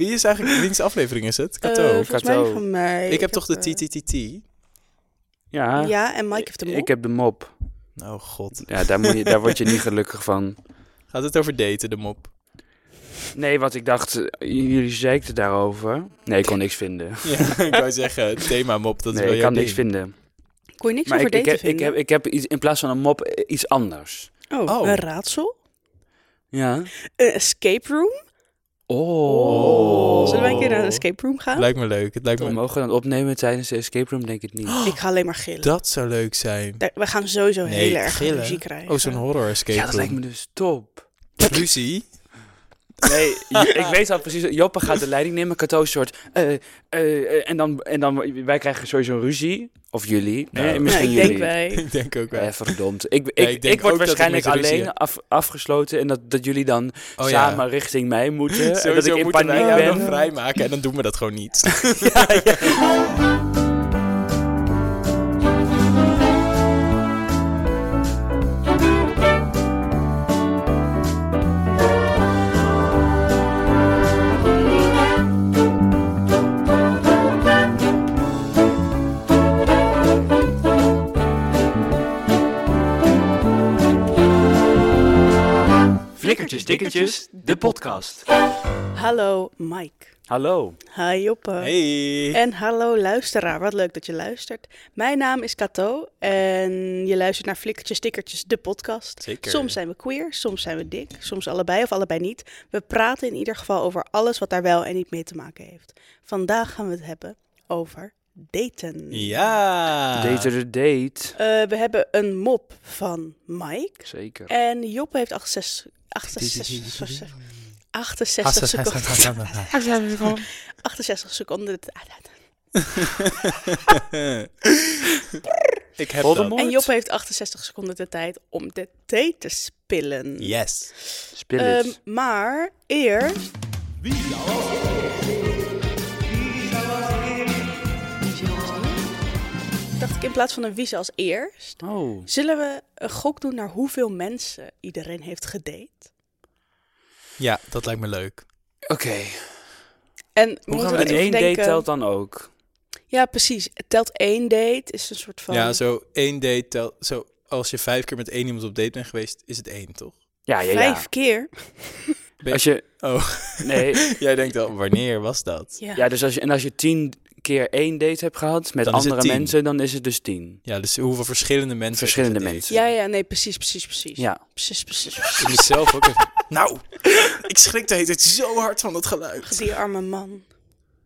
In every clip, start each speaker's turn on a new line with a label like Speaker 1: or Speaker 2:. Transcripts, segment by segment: Speaker 1: Wie is eigenlijk, wiens aflevering is het?
Speaker 2: Eh,
Speaker 1: Kato.
Speaker 2: volgens
Speaker 3: Kato.
Speaker 2: mij van mij.
Speaker 1: ik heb toch de
Speaker 2: eh,
Speaker 1: TTTT?
Speaker 3: Ja,
Speaker 2: Ja, en Mike heeft hem
Speaker 3: ik
Speaker 2: op.
Speaker 3: heb de mop.
Speaker 1: Oh god.
Speaker 3: Ja, daar, moet je, daar word je niet gelukkig van.
Speaker 1: Gaat het over daten, de mop?
Speaker 3: Nee, wat ik dacht, eh, jullie zeikten daarover. Nee, ik kon niks vinden.
Speaker 1: Ja, ik wou zeggen, het thema mop, dat wil
Speaker 3: nee, ik
Speaker 1: je
Speaker 3: kan niks vinden.
Speaker 2: Kon je niks
Speaker 3: Maar
Speaker 2: over
Speaker 3: ik, ik,
Speaker 2: daten
Speaker 3: heb, ik,
Speaker 2: vinden?
Speaker 3: heb, ik heb iets, in plaats van een mop eh, iets anders.
Speaker 2: oh,
Speaker 1: Oh.
Speaker 2: een raadsel?
Speaker 3: Ja.
Speaker 2: Een escape room?
Speaker 3: Oh.
Speaker 2: Oh. Zullen wij een keer naar een escape room gaan?
Speaker 1: Lijkt me leuk. Het lijkt
Speaker 3: We
Speaker 1: me...
Speaker 3: mogen dan opnemen tijdens de escape room, denk ik niet.
Speaker 2: Ik ga alleen maar gillen.
Speaker 1: Dat zou leuk zijn.
Speaker 2: Daar- we gaan sowieso
Speaker 1: Nee,
Speaker 2: heel erg
Speaker 1: gillen?
Speaker 2: ruzie krijgen.
Speaker 1: Oh, zo'n horror escape
Speaker 3: ja, dat lijkt me dus top.
Speaker 1: room. Ruzie?
Speaker 3: Nee, J- ik weet al precies. Joppe gaat de leiding nemen, Kato een soort... eh, eh, eh, en, dan, en dan, wij krijgen sowieso een ruzie. Of jullie. Nou,
Speaker 1: Ja.
Speaker 3: Nee,
Speaker 1: Ja,
Speaker 2: Ja,
Speaker 3: misschien
Speaker 2: ik
Speaker 3: jullie.
Speaker 2: denk wij.
Speaker 1: ik denk ook wel.
Speaker 3: Eh, verdomd. Ik, ik,
Speaker 1: Ja, ik
Speaker 3: ik,
Speaker 1: denk
Speaker 3: word
Speaker 1: ook dat ik
Speaker 3: waarschijnlijk
Speaker 1: met ruzie
Speaker 3: alleen
Speaker 1: heb.
Speaker 3: af, afgesloten en dat, dat jullie dan
Speaker 1: Oh ja.
Speaker 3: samen richting mij moeten. en dat ik
Speaker 1: Sowieso
Speaker 3: in
Speaker 1: moeten wij
Speaker 3: paniek
Speaker 1: jou dan
Speaker 3: ben.
Speaker 1: vrijmaken en dan doen we dat gewoon niet.
Speaker 4: Flikkertjes Dikkertjes, de podcast.
Speaker 2: Hallo Mike.
Speaker 3: Hallo.
Speaker 2: Hi Joppe.
Speaker 1: Hey.
Speaker 2: En hallo luisteraar, wat leuk dat je luistert. Mijn naam is Kato en je luistert naar Flikkertjes, Stickertjes, de podcast.
Speaker 1: Zeker.
Speaker 2: Soms zijn we queer, soms zijn we dik, soms allebei of allebei niet. We praten in ieder geval over alles wat daar wel en niet mee te maken heeft. Vandaag gaan we het hebben over daten.
Speaker 1: Ja.
Speaker 3: Date de date.
Speaker 2: Eh, we hebben een mop van Mike.
Speaker 3: Zeker.
Speaker 2: En Joppe heeft 68, 68, 68 seconden. 68 seconden.
Speaker 1: ik heb dat.
Speaker 3: Voldemort?
Speaker 2: En Joppe heeft 68 seconden de tijd om de thee te spillen.
Speaker 1: Yes.
Speaker 3: Spil
Speaker 2: Ehm,
Speaker 3: it.
Speaker 2: maar eerst. Dacht ik in plaats van een wies als eerst.
Speaker 3: Oh.
Speaker 2: Zullen we een gok doen naar hoeveel mensen iedereen heeft gedate?
Speaker 1: Ja, dat lijkt me leuk.
Speaker 3: Oké.
Speaker 2: En we
Speaker 3: Hoe
Speaker 2: moeten
Speaker 3: gaan we
Speaker 2: wel
Speaker 3: dat
Speaker 2: even
Speaker 3: één
Speaker 2: denken-
Speaker 3: date telt dan ook?
Speaker 2: Ja, precies. Het telt één date, is een soort van...
Speaker 1: Ja, zo één date telt. Zo, als je vijf keer met één iemand op date bent geweest, is het één, toch?
Speaker 3: Ja, ja, ja.
Speaker 2: Vijf keer?
Speaker 3: Als je...
Speaker 1: Oh.
Speaker 3: Nee.
Speaker 1: Jij denkt al, wanneer was dat?
Speaker 2: Ja.
Speaker 3: Ja, dus als je, en als je tien keer één date hebt gehad met
Speaker 1: Dan is het
Speaker 3: andere
Speaker 1: tien.
Speaker 3: mensen, dan is het dus tien.
Speaker 1: Ja, dus hoeveel verschillende mensen.
Speaker 3: Verschillende
Speaker 1: heb je
Speaker 3: mensen.
Speaker 1: gedate?
Speaker 2: ja, ja, nee, precies, precies, precies.
Speaker 3: Ja.
Speaker 2: Precies, precies, precies.
Speaker 1: Ik moet zelf ook even... Nou, ik schrik de hele tijd zo hard van dat geluid.
Speaker 2: Die arme man.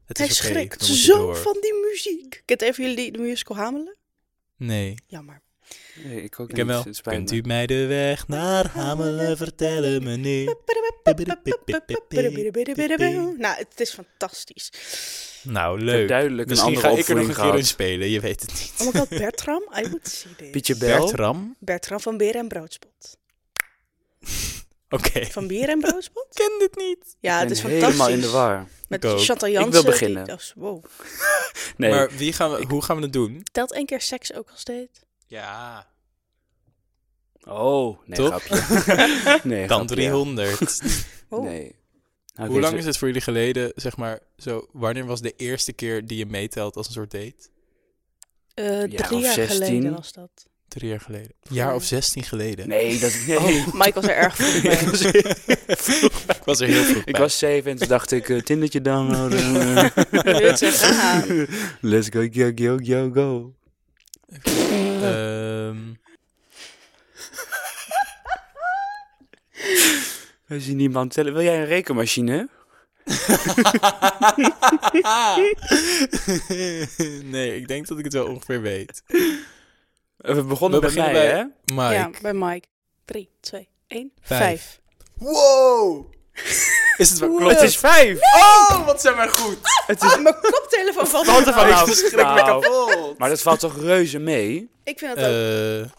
Speaker 1: Het
Speaker 2: Hij
Speaker 1: is oké,
Speaker 2: schrikt
Speaker 1: we moeten
Speaker 2: zo
Speaker 1: door.
Speaker 2: van die muziek. Kent even jullie die- de musical Hamelen?
Speaker 1: Nee,
Speaker 2: Jammer.
Speaker 3: Nee, ik ook
Speaker 1: ik heb
Speaker 3: niet.
Speaker 1: wel.
Speaker 3: Het spijt
Speaker 1: Kunt
Speaker 3: me.
Speaker 1: u mij de weg naar Hamelen vertellen, meneer?
Speaker 2: Nou, het is fantastisch.
Speaker 1: Nou,
Speaker 3: Ik heb
Speaker 1: leuk.
Speaker 3: duidelijk een
Speaker 1: Misschien
Speaker 3: andere
Speaker 1: ga ik er nog
Speaker 3: opvoeding
Speaker 1: een
Speaker 3: gehad.
Speaker 1: keer in spelen, je weet het niet.
Speaker 2: Oh my god, Bertram, I would see this.
Speaker 3: Pietje Bel.
Speaker 1: Bertram?
Speaker 2: Bertram van Beren en Broodspot.
Speaker 1: Oké.
Speaker 2: Van Beren en Broodspot?
Speaker 1: Ik ken dit niet.
Speaker 2: Ja,
Speaker 3: Ik
Speaker 2: Ah, het
Speaker 3: ben
Speaker 2: is fantastisch.
Speaker 3: helemaal in de war.
Speaker 2: Met
Speaker 1: Ik ook.
Speaker 2: Chantal
Speaker 3: wil
Speaker 2: Jansen. die-
Speaker 3: beginnen.
Speaker 2: dat is- wow.
Speaker 3: Nee.
Speaker 1: Maar wie gaan we, hoe gaan we het doen?
Speaker 2: Telt één keer seks ook als date?
Speaker 1: Ja,
Speaker 3: Oh, nee,
Speaker 1: Toch?
Speaker 3: grapje. nee,
Speaker 1: dan
Speaker 3: grapje, ja.
Speaker 1: 300.
Speaker 2: Oh.
Speaker 3: Nee. Nou,
Speaker 1: Hoe
Speaker 3: oké,
Speaker 1: lang
Speaker 3: zo-
Speaker 1: is het voor jullie geleden, zeg maar, zo, wanneer was de eerste keer die je meetelt als een soort date?
Speaker 2: Eh,
Speaker 3: Ja,
Speaker 2: drie
Speaker 3: of
Speaker 2: jaar
Speaker 3: 16.
Speaker 2: geleden was dat.
Speaker 1: Drie jaar geleden. Een jaar of zestien geleden.
Speaker 3: Nee, dat nee.
Speaker 1: Oh.
Speaker 2: Mike was er erg vroeg bij.
Speaker 1: Ik was er heel vroeg
Speaker 3: ik
Speaker 1: bij.
Speaker 3: was zeven en toen dacht ik, eh, Tindertje downloaden.
Speaker 2: Wil je het zeggen? Ah,
Speaker 3: Let's go, go, go, go, go.
Speaker 1: Ehm,
Speaker 3: We zien niemand tellen. Wil jij een rekenmachine?
Speaker 1: nee, ik denk dat ik het wel ongeveer weet.
Speaker 3: Eh, We begonnen
Speaker 1: We
Speaker 3: bij mij,
Speaker 1: beginnen bij-
Speaker 3: hè?
Speaker 1: Mike.
Speaker 2: Ja, bij Mike. Drie, twee, één,
Speaker 1: Vijf.
Speaker 2: vijf.
Speaker 1: Wow! Is het wel
Speaker 2: Wow.
Speaker 1: klopt
Speaker 3: Het is vijf!
Speaker 1: Oh, wat zijn wij goed!
Speaker 3: Het is
Speaker 2: Mijn koptelefoon valt
Speaker 3: valt er
Speaker 2: ervan af.
Speaker 3: vanaf. Nou,
Speaker 1: kapot!
Speaker 3: Maar dat valt toch reuze mee?
Speaker 2: Ik vind dat ook.
Speaker 1: Eh,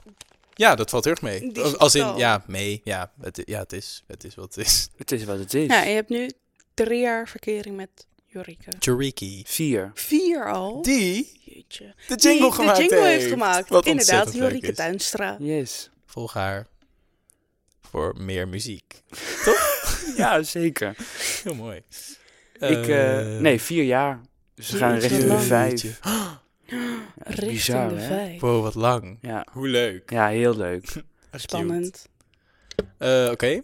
Speaker 1: ja, dat valt heel erg mee.
Speaker 2: Die
Speaker 1: Als in,
Speaker 2: getal.
Speaker 1: ja, mee. Ja, het, ja, het is. Het is wat het is.
Speaker 3: Het is wat het is.
Speaker 2: Ja, en je hebt nu drie jaar verkering met Jorike.
Speaker 1: Jariki.
Speaker 3: Vier.
Speaker 2: Vier al.
Speaker 1: Die
Speaker 2: Jeetje.
Speaker 1: de jingle
Speaker 2: Die
Speaker 1: gemaakt
Speaker 2: de jingle heeft,
Speaker 1: heeft.
Speaker 2: gemaakt.
Speaker 1: Wat
Speaker 2: Inderdaad,
Speaker 1: ontzettend leuk
Speaker 2: Jorike
Speaker 1: is.
Speaker 2: Tuinstra.
Speaker 3: Yes.
Speaker 1: Volg haar voor meer muziek.
Speaker 3: Ja, zeker.
Speaker 1: Heel mooi.
Speaker 3: Ik, eh,
Speaker 1: Eh,
Speaker 3: nee, vier jaar. Dus ze gaan
Speaker 2: Jeetje,
Speaker 3: richting de
Speaker 2: lang.
Speaker 3: vijf.
Speaker 1: Jeetje.
Speaker 3: Ja, dat is
Speaker 2: Richting
Speaker 3: bizar,
Speaker 2: de
Speaker 3: hè?
Speaker 2: vijf.
Speaker 1: Oh, Wow, wat lang.
Speaker 3: Ja.
Speaker 1: Hoe leuk.
Speaker 3: ja, heel leuk.
Speaker 1: Echt cute.
Speaker 2: Spannend.
Speaker 1: Eh, Oké,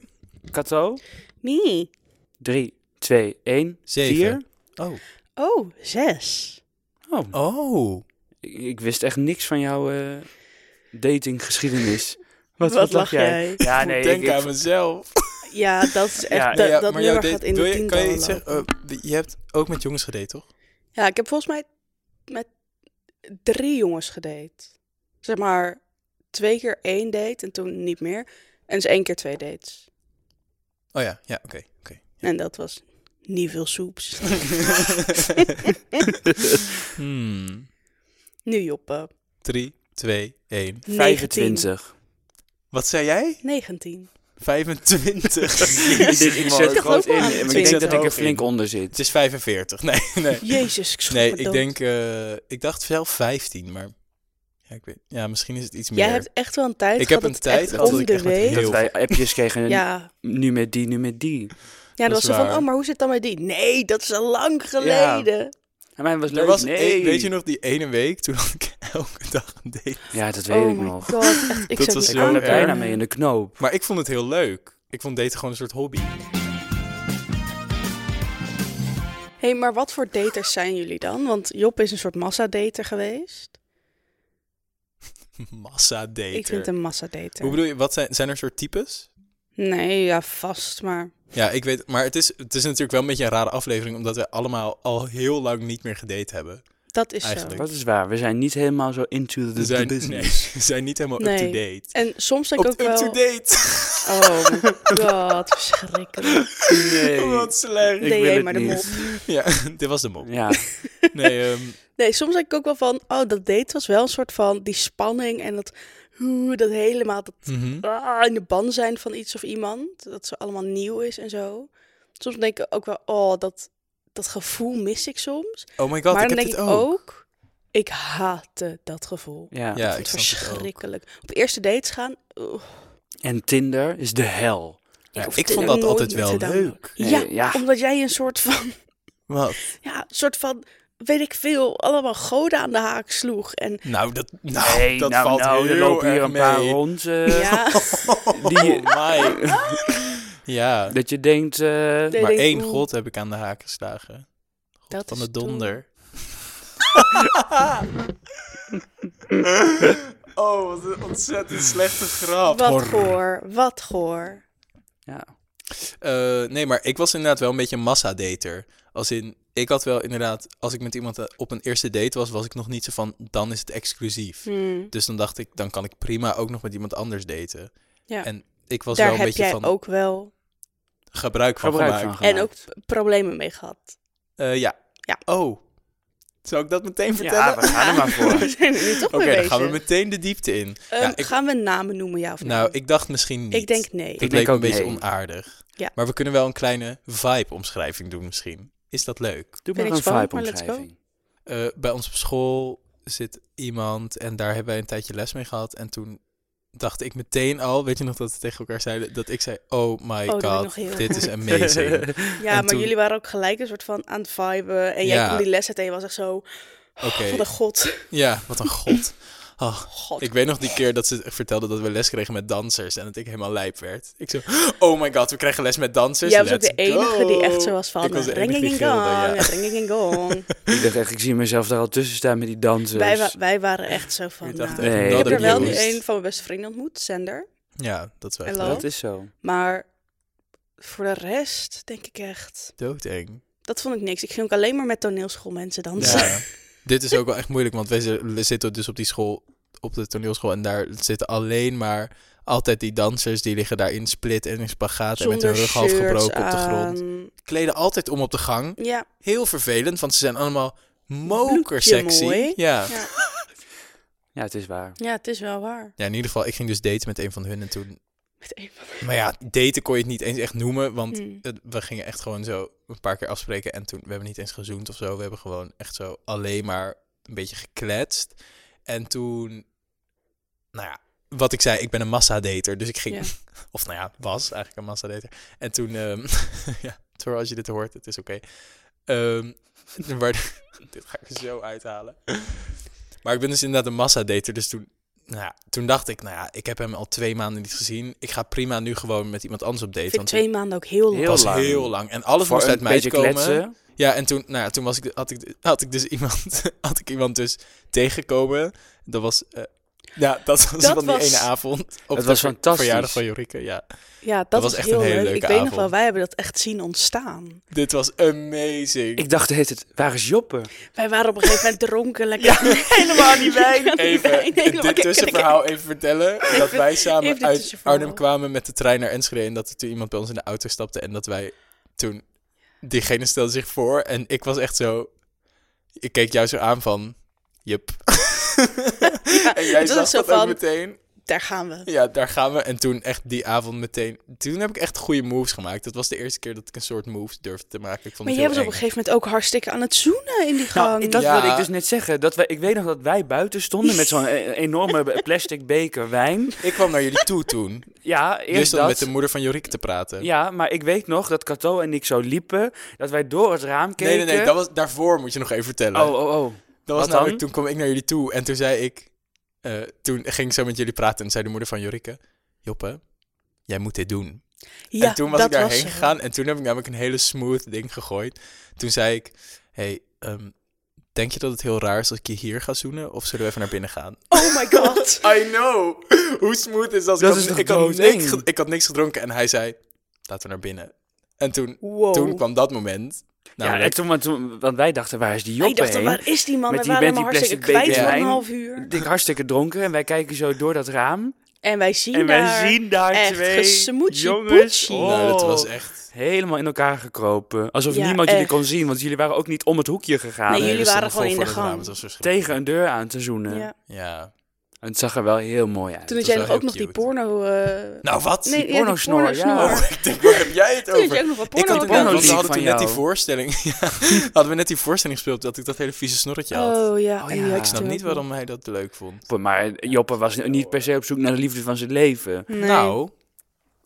Speaker 3: Kato,
Speaker 2: Nee.
Speaker 3: drie, twee, één,
Speaker 1: Zeven.
Speaker 3: vier.
Speaker 1: Oh.
Speaker 2: Oh, zes.
Speaker 3: Oh,
Speaker 1: Oh.
Speaker 3: ik, ik wist echt niks van jouw eh, datinggeschiedenis.
Speaker 2: Wat, lach jij?
Speaker 3: Ja,
Speaker 1: ik
Speaker 3: nee,
Speaker 1: moet
Speaker 3: ik,
Speaker 1: denken
Speaker 3: ik-
Speaker 1: aan mezelf.
Speaker 2: Ja, dat is echt...
Speaker 3: Ja,
Speaker 2: dat
Speaker 1: Ja,
Speaker 2: dat
Speaker 1: maar jouw
Speaker 2: nummer
Speaker 1: date-
Speaker 2: gaat in
Speaker 1: doe
Speaker 2: de
Speaker 1: je- Kan je
Speaker 2: tientallen
Speaker 1: iets zeggen?
Speaker 2: lopen.
Speaker 1: Eh, je hebt ook met jongens gedate, toch?
Speaker 2: Ja, ik heb volgens mij met drie jongens gedate. Zeg maar twee keer één date en toen niet meer. En dus één keer twee dates.
Speaker 1: Oh ja, ja, oké. oké.
Speaker 2: En dat was niet veel soeps.
Speaker 1: Hmm.
Speaker 2: nu Joppe.
Speaker 1: 3, 2, 1.
Speaker 3: 25.
Speaker 1: Wat zei jij?
Speaker 2: 19.
Speaker 1: 25.
Speaker 3: Ik, ik zet
Speaker 2: Ik
Speaker 3: groot
Speaker 2: dacht ook
Speaker 3: in.
Speaker 2: aan
Speaker 3: maar Ik
Speaker 2: 20.
Speaker 3: denk dat ik
Speaker 1: Hoog
Speaker 3: er
Speaker 1: in.
Speaker 3: flink onder
Speaker 1: Het
Speaker 3: zit.
Speaker 1: is 45. Nee, nee.
Speaker 2: Jezus, ik schrok
Speaker 1: Nee,
Speaker 2: me
Speaker 1: ik
Speaker 2: dood.
Speaker 1: denk, eh, ik dacht zelf 15, maar ja, ik weet, ja, misschien is het iets meer.
Speaker 2: Jij hebt echt wel een tijd
Speaker 1: Ik heb
Speaker 2: gehad
Speaker 1: een
Speaker 2: dat het
Speaker 1: tijd
Speaker 2: echt
Speaker 1: gehad
Speaker 2: om
Speaker 1: dat ik
Speaker 2: de
Speaker 1: echt met
Speaker 2: week...
Speaker 1: heel-
Speaker 3: Dat wij appjes kregen.
Speaker 2: Ja,
Speaker 3: Nu met die, nu met die.
Speaker 2: ja dat
Speaker 1: Dat
Speaker 2: was
Speaker 1: is
Speaker 2: zo van,
Speaker 1: waar.
Speaker 2: oh, maar hoe zit dan met die? Nee, dat is al lang geleden.
Speaker 3: En mij was
Speaker 1: Er
Speaker 3: leuk.
Speaker 1: was
Speaker 3: nee.
Speaker 1: één- weet je nog die ene week toen had ik elke dag een date?
Speaker 3: Ja, dat weet
Speaker 2: Oh
Speaker 3: ik
Speaker 2: my
Speaker 3: nog.
Speaker 2: god, echt, ik
Speaker 1: Dat
Speaker 2: zat
Speaker 1: was
Speaker 2: niet
Speaker 1: zo
Speaker 3: Ik
Speaker 2: aan
Speaker 3: kwam er
Speaker 2: te
Speaker 1: erg.
Speaker 3: bijna
Speaker 2: komen.
Speaker 3: mee in de knoop.
Speaker 1: Maar ik vond het heel leuk. Ik vond daten gewoon een soort hobby.
Speaker 2: Hé, hey, maar wat voor daters zijn jullie dan? Want Job is een soort massadater geweest.
Speaker 1: Massa dater.
Speaker 2: Ik vind het een massadater.
Speaker 1: Hoe bedoel je, wat zijn, zijn er soort types?
Speaker 2: Nee, ja, vast, maar...
Speaker 1: Ja, ik weet, maar het is, het is natuurlijk wel een beetje een rare aflevering, omdat we allemaal al heel lang niet meer gedate hebben.
Speaker 2: Dat is
Speaker 1: Eigenlijk.
Speaker 3: Dat is waar. We zijn niet helemaal zo into the,
Speaker 1: We zijn, nee,
Speaker 3: business.
Speaker 1: we zijn niet helemaal
Speaker 2: Nee.
Speaker 1: up-to-date.
Speaker 2: zo. En soms denk ik ook wel...
Speaker 1: Up-to-date!
Speaker 2: Oh my god, verschrikkelijk.
Speaker 3: Nee.
Speaker 1: Wat slecht.
Speaker 3: Ik wil
Speaker 2: Nee,
Speaker 3: het
Speaker 2: maar de
Speaker 3: niet.
Speaker 2: mop.
Speaker 1: Ja, dit was de mop.
Speaker 3: Ja,
Speaker 1: Nee, ehm,
Speaker 2: Nee, soms denk ik ook wel van... Oh, dat date was wel een soort van die spanning en dat... Hoe, dat helemaal... Dat,
Speaker 1: mhm.
Speaker 2: ah, in de ban zijn van iets of iemand. Dat ze allemaal nieuw is en zo. Soms denk ik ook wel... Oh, dat, dat gevoel mis ik soms.
Speaker 1: Oh my god, ik
Speaker 2: maar dan
Speaker 1: heb
Speaker 2: denk
Speaker 1: dit
Speaker 2: ik
Speaker 1: ook.
Speaker 2: ook... Ik haatte dat gevoel.
Speaker 3: ja.
Speaker 1: Ja,
Speaker 2: Ik
Speaker 1: ik snap
Speaker 2: vond het
Speaker 1: het ook. Ah.
Speaker 2: verschrikkelijk. Op eerste dates gaan. oeh,
Speaker 3: En Tinder is de hel.
Speaker 1: Ja,
Speaker 2: hoef
Speaker 1: ik
Speaker 2: dit
Speaker 1: vond
Speaker 2: ook
Speaker 1: dat
Speaker 2: nooit
Speaker 1: altijd
Speaker 2: meer
Speaker 1: wel
Speaker 2: te downloaden.
Speaker 1: leuk.
Speaker 3: Nee,
Speaker 2: ja,
Speaker 3: ja.
Speaker 2: omdat jij een soort van,
Speaker 1: Wat?
Speaker 2: ja, een soort van, weet ik veel, allemaal goden aan de haak sloeg. En
Speaker 1: Nou, dat, nou,
Speaker 3: Nee,
Speaker 1: dat
Speaker 3: nou,
Speaker 1: valt
Speaker 3: nou, er
Speaker 1: heel
Speaker 3: lopen hier
Speaker 1: erg
Speaker 3: een paar
Speaker 1: mee.
Speaker 3: rond. eh,
Speaker 2: ja,
Speaker 3: die,
Speaker 1: Oh my. ja,
Speaker 3: dat je denkt, eh,
Speaker 1: maar
Speaker 2: Nee. denk,
Speaker 1: één
Speaker 2: oeh.
Speaker 1: god heb ik aan de haak geslagen. God
Speaker 2: Dat
Speaker 1: van
Speaker 2: is
Speaker 1: de donder. oh, wat een ontzettend slechte grap.
Speaker 2: wat goor, wat goor.
Speaker 3: ja.
Speaker 1: Eh, nee, maar ik was inderdaad wel een beetje een massadater. Als in, ik had wel inderdaad, als ik met iemand eh, op een eerste date was, was ik nog niet zo van, dan is het exclusief.
Speaker 2: Hmm,
Speaker 1: Dus dan dacht ik, dan kan ik prima ook nog met iemand anders daten.
Speaker 2: Ja.
Speaker 1: En ik was
Speaker 2: Daar
Speaker 1: wel een
Speaker 2: heb
Speaker 1: beetje
Speaker 2: jij
Speaker 1: van
Speaker 2: ook wel
Speaker 1: gebruik van
Speaker 3: gebruik
Speaker 1: gemaakt.
Speaker 3: van gemaakt.
Speaker 2: En ook- problemen mee gehad.
Speaker 1: Eh, ja.
Speaker 2: Ja.
Speaker 1: Oh. Zou ik dat meteen vertellen?
Speaker 3: Ja, we gaan er maar
Speaker 2: We
Speaker 3: voor.
Speaker 2: zijn er nu toch
Speaker 1: Oké,
Speaker 2: mee
Speaker 1: dan
Speaker 2: bezig.
Speaker 1: gaan we meteen de diepte in.
Speaker 2: Ehm,
Speaker 1: Ja, ik-
Speaker 2: Gaan we namen noemen, ja of nee?
Speaker 1: Nou, ik dacht misschien niet.
Speaker 2: Ik denk nee.
Speaker 1: Dat
Speaker 3: Ik denk
Speaker 1: leek
Speaker 3: ook
Speaker 1: een beetje
Speaker 3: nee.
Speaker 1: onaardig.
Speaker 2: Ja.
Speaker 1: Maar we kunnen wel een kleine vibe-omschrijving doen misschien. Is dat leuk?
Speaker 3: Doe
Speaker 2: Ben
Speaker 3: maar
Speaker 2: ik
Speaker 3: een
Speaker 2: spannend, maar let's
Speaker 3: vibe-omschrijving.
Speaker 1: Eh, bij ons op school zit iemand en daar hebben wij een tijdje les mee gehad. En toen dacht ik meteen al, weet je nog dat we tegen elkaar zeiden, dat ik zei, oh my
Speaker 2: dat weet ik nog
Speaker 1: god,
Speaker 2: heel
Speaker 1: dit
Speaker 2: goed.
Speaker 1: is amazing.
Speaker 2: ja,
Speaker 1: en
Speaker 2: maar
Speaker 1: toen-
Speaker 2: jullie waren ook gelijk een soort van aan het viben. En jij
Speaker 1: Ja.
Speaker 2: kwam die les uit en je was echt zo,
Speaker 1: Oké.
Speaker 2: van de god.
Speaker 1: ja, wat een god. Oh,
Speaker 2: God.
Speaker 1: ik weet nog die keer dat ze vertelde dat we les kregen met dansers en dat ik helemaal lijp werd. Ik zo, oh my god, we krijgen les met dansers.
Speaker 2: Jij was ook
Speaker 1: Let's
Speaker 2: de enige die echt zo
Speaker 1: go."
Speaker 2: was van...
Speaker 1: Ik was de enige die
Speaker 2: ringingingong,
Speaker 1: gilde, ja.
Speaker 2: ringingingong.
Speaker 3: Ik dacht echt, ik zie mezelf daar al tussen staan met die dansers.
Speaker 2: wij, wa- wij waren echt zo van...
Speaker 1: Ik dacht
Speaker 2: nou,
Speaker 1: echt,
Speaker 3: Nee.
Speaker 2: ik heb
Speaker 1: another
Speaker 2: er wel nu
Speaker 1: tourist.
Speaker 2: een van mijn beste vrienden ontmoet, Sander.
Speaker 1: Ja, dat is wel echt
Speaker 2: Hallo?
Speaker 1: dood-
Speaker 3: Dat is zo.
Speaker 2: Maar voor de rest denk ik echt...
Speaker 1: doodeng.
Speaker 2: Dat vond ik niks. Ik ging ook alleen maar met toneelschoolmensen dansen.
Speaker 1: Ja. Dit is ook wel echt moeilijk, want wij zi- we zitten dus op die school, op de toneelschool, en daar zitten alleen maar altijd die dansers die liggen daar in split en in spagaat en met hun rug half
Speaker 2: shirts
Speaker 1: gebroken op de grond.
Speaker 2: aan.
Speaker 1: Kleden altijd om op de gang.
Speaker 2: Ja,
Speaker 1: Heel vervelend, want ze zijn allemaal mokersexy.
Speaker 2: Bloedje mooi.
Speaker 1: Ja.
Speaker 2: Ja.
Speaker 3: Ja, het is waar.
Speaker 2: ja, het is wel waar.
Speaker 1: ja, in ieder geval, ik ging dus daten met een van hun en toen...
Speaker 2: Met een van
Speaker 1: Maar ja, daten kon je het niet eens echt noemen, want eh,
Speaker 2: Hmm.
Speaker 1: het- we gingen echt gewoon zo een paar keer afspreken en toen... We hebben niet eens gezoend of zo, we hebben gewoon echt zo alleen maar een beetje gekletst. En toen, nou ja, wat ik zei, ik ben een massadater, dus ik ging...
Speaker 2: Ja.
Speaker 1: Of nou ja, was eigenlijk een massadater. En toen, ehm ja, Tor, als je dit hoort, het is oké. Ehm, waar, dit ga ik er zo uithalen. Maar ik ben dus inderdaad een massadater. Dus toen, nou ja, toen dacht ik, nou ja, ik heb hem al twee maanden niet gezien. Ik ga prima nu gewoon met iemand anders op date.
Speaker 2: Ik vind
Speaker 1: Want
Speaker 2: twee maanden ook heel lang.
Speaker 1: het was
Speaker 3: Heel lang.
Speaker 1: heel lang. En alles
Speaker 3: Voor
Speaker 1: moest
Speaker 3: een
Speaker 1: uit mij
Speaker 3: beetje
Speaker 1: komen.
Speaker 3: kletsen.
Speaker 1: Ja, en toen, nou ja, toen was ik, had, ik, had ik dus iemand, had ik iemand dus tegengekomen. Dat was, eh, ja, dat was
Speaker 2: Dat
Speaker 1: van
Speaker 2: was-
Speaker 1: die ene avond. Op
Speaker 3: Het
Speaker 1: de
Speaker 3: was
Speaker 1: ver-
Speaker 3: fantastisch.
Speaker 1: verjaardag van Jorike, ja.
Speaker 2: Ja,
Speaker 1: was
Speaker 2: dat, was,
Speaker 1: echt
Speaker 2: heel
Speaker 1: een hele
Speaker 2: leuk.
Speaker 1: leuke
Speaker 2: ik weet nog wel,
Speaker 1: avond.
Speaker 2: wij hebben dat echt zien ontstaan.
Speaker 1: Dit was amazing.
Speaker 3: Ik dacht, heet het, waar is Joppe?
Speaker 2: Wij waren op een gegeven moment dronken, lekker.
Speaker 3: Helemaal niet wijn.
Speaker 1: even
Speaker 2: Nee, nee, maar kijk,
Speaker 1: dit
Speaker 2: kijk,
Speaker 1: tussenverhaal even vertellen. dat wij samen
Speaker 2: even dit
Speaker 1: uit
Speaker 2: tussenverhaal.
Speaker 1: Arnhem kwamen met de trein naar Enschede. En dat er toen iemand bij ons in de auto stapte. En dat wij toen... Diegene stelde zich voor. En ik was echt zo... Ik keek jou zo aan van... Jup. en jij
Speaker 2: het was
Speaker 1: zag
Speaker 2: zo
Speaker 1: dat ook
Speaker 2: van-
Speaker 1: meteen.
Speaker 2: Daar gaan we.
Speaker 1: Ja, daar gaan we. En toen echt die avond meteen... Toen heb ik echt goede moves gemaakt. Dat was de eerste keer dat ik een soort moves durfde te maken. Ik vond
Speaker 2: Maar
Speaker 1: het
Speaker 2: jij
Speaker 1: heel
Speaker 2: was op een
Speaker 1: eng.
Speaker 2: gegeven moment ook hartstikke aan het zoenen in die gang.
Speaker 3: Nou, dat
Speaker 1: Ja.
Speaker 3: wilde ik dus net zeggen. Dat wij, ik weet nog dat wij buiten stonden met zo'n eh, enorme plastic beker wijn.
Speaker 1: Ik kwam naar jullie toe toen.
Speaker 3: Ja,
Speaker 1: Je
Speaker 3: eerst
Speaker 1: stond
Speaker 3: dat.
Speaker 1: met de moeder van Jorik te praten.
Speaker 3: Ja, maar ik weet nog dat Cato en ik zo liepen. Dat wij door het raam keken.
Speaker 1: Nee, nee, nee. Dat Nou, was, daarvoor moet je nog even vertellen.
Speaker 3: Oh, oh, oh.
Speaker 1: Dat was
Speaker 3: Wat
Speaker 1: namelijk,
Speaker 3: dan?
Speaker 1: toen kwam ik naar jullie toe en toen zei ik... eh, toen ging ik zo met jullie praten en zei de moeder van Jorike... Joppe, jij moet dit doen.
Speaker 2: ja,
Speaker 1: en toen was
Speaker 2: dat
Speaker 1: ik daarheen
Speaker 2: zo.
Speaker 1: gegaan en toen heb ik namelijk een hele smooth ding gegooid. Toen zei ik, hey, ehm, denk je dat het heel raar is als ik je hier ga zoenen? Of zullen we even naar binnen gaan?
Speaker 2: Oh my god.
Speaker 1: I know! Hoe smooth is dat?
Speaker 3: Dat
Speaker 1: ik, had,
Speaker 3: is toch
Speaker 1: ik, had
Speaker 3: doodeng?
Speaker 1: niks, ge- ik had niks gedronken en hij zei, laten we naar binnen. En toen, Oh.
Speaker 2: Wow.
Speaker 1: toen kwam dat moment.
Speaker 3: Ja, en
Speaker 1: namelijk-
Speaker 3: toen, want, toen, want wij dachten, waar is die
Speaker 2: Hij
Speaker 3: Joppe
Speaker 2: dacht,
Speaker 3: heen?
Speaker 2: waar is die man?
Speaker 3: Met
Speaker 2: We
Speaker 3: die-
Speaker 2: waren
Speaker 3: met
Speaker 2: hem
Speaker 3: die
Speaker 2: hartstikke
Speaker 3: plastic
Speaker 2: kwijt
Speaker 1: beker
Speaker 2: van een
Speaker 3: wijn.
Speaker 2: half uur.
Speaker 3: Ik hartstikke dronken en wij kijken zo door dat raam.
Speaker 2: En wij zien
Speaker 3: en wij
Speaker 2: daar
Speaker 3: zien daar
Speaker 2: echt
Speaker 3: twee
Speaker 2: gesmoetsie
Speaker 3: jongens.
Speaker 2: poetsie.
Speaker 3: Oh,
Speaker 1: Nou, dat was echt...
Speaker 3: Helemaal in elkaar gekropen. Alsof
Speaker 2: Ja,
Speaker 3: niemand jullie
Speaker 2: echt.
Speaker 3: kon zien, want jullie waren ook niet om het hoekje gegaan.
Speaker 2: Nee, jullie
Speaker 1: we stonden
Speaker 2: waren
Speaker 1: vol
Speaker 2: gewoon
Speaker 1: voor
Speaker 2: in de
Speaker 1: dat raam,
Speaker 2: gang.
Speaker 1: het was verschrikkelijk.
Speaker 3: Tegen een deur aan te zoenen.
Speaker 2: Ja.
Speaker 1: Ja.
Speaker 3: En het zag er wel heel mooi uit.
Speaker 2: Toen had
Speaker 1: was
Speaker 2: jij
Speaker 1: wel
Speaker 2: nog ook
Speaker 1: heel
Speaker 2: nog die
Speaker 1: cute.
Speaker 2: porno... eh,
Speaker 1: Nou, wat?
Speaker 2: Nee, ja, die
Speaker 3: pornosnor, ja.
Speaker 2: pornosnor.
Speaker 1: Ik denk, waar heb jij het
Speaker 2: Toen had
Speaker 1: Oh, over?
Speaker 2: jij ook nog wat
Speaker 1: Ik
Speaker 2: porno.
Speaker 1: had inderdaad, want we
Speaker 3: porno-leak
Speaker 1: hadden
Speaker 3: van
Speaker 1: toen net die
Speaker 3: jou.
Speaker 1: voorstelling, ja, hadden we net die voorstelling gespeeld dat ik dat hele vieze snorretje had.
Speaker 2: Oh ja,
Speaker 3: Oh
Speaker 2: en die
Speaker 3: ja.
Speaker 2: had je
Speaker 3: Ik
Speaker 1: ik snap
Speaker 2: toen
Speaker 1: niet
Speaker 2: ook nog.
Speaker 1: waarom hij dat leuk vond.
Speaker 3: Maar Joppe was niet per se op zoek naar de liefde van zijn leven.
Speaker 2: Nee.
Speaker 1: Nou,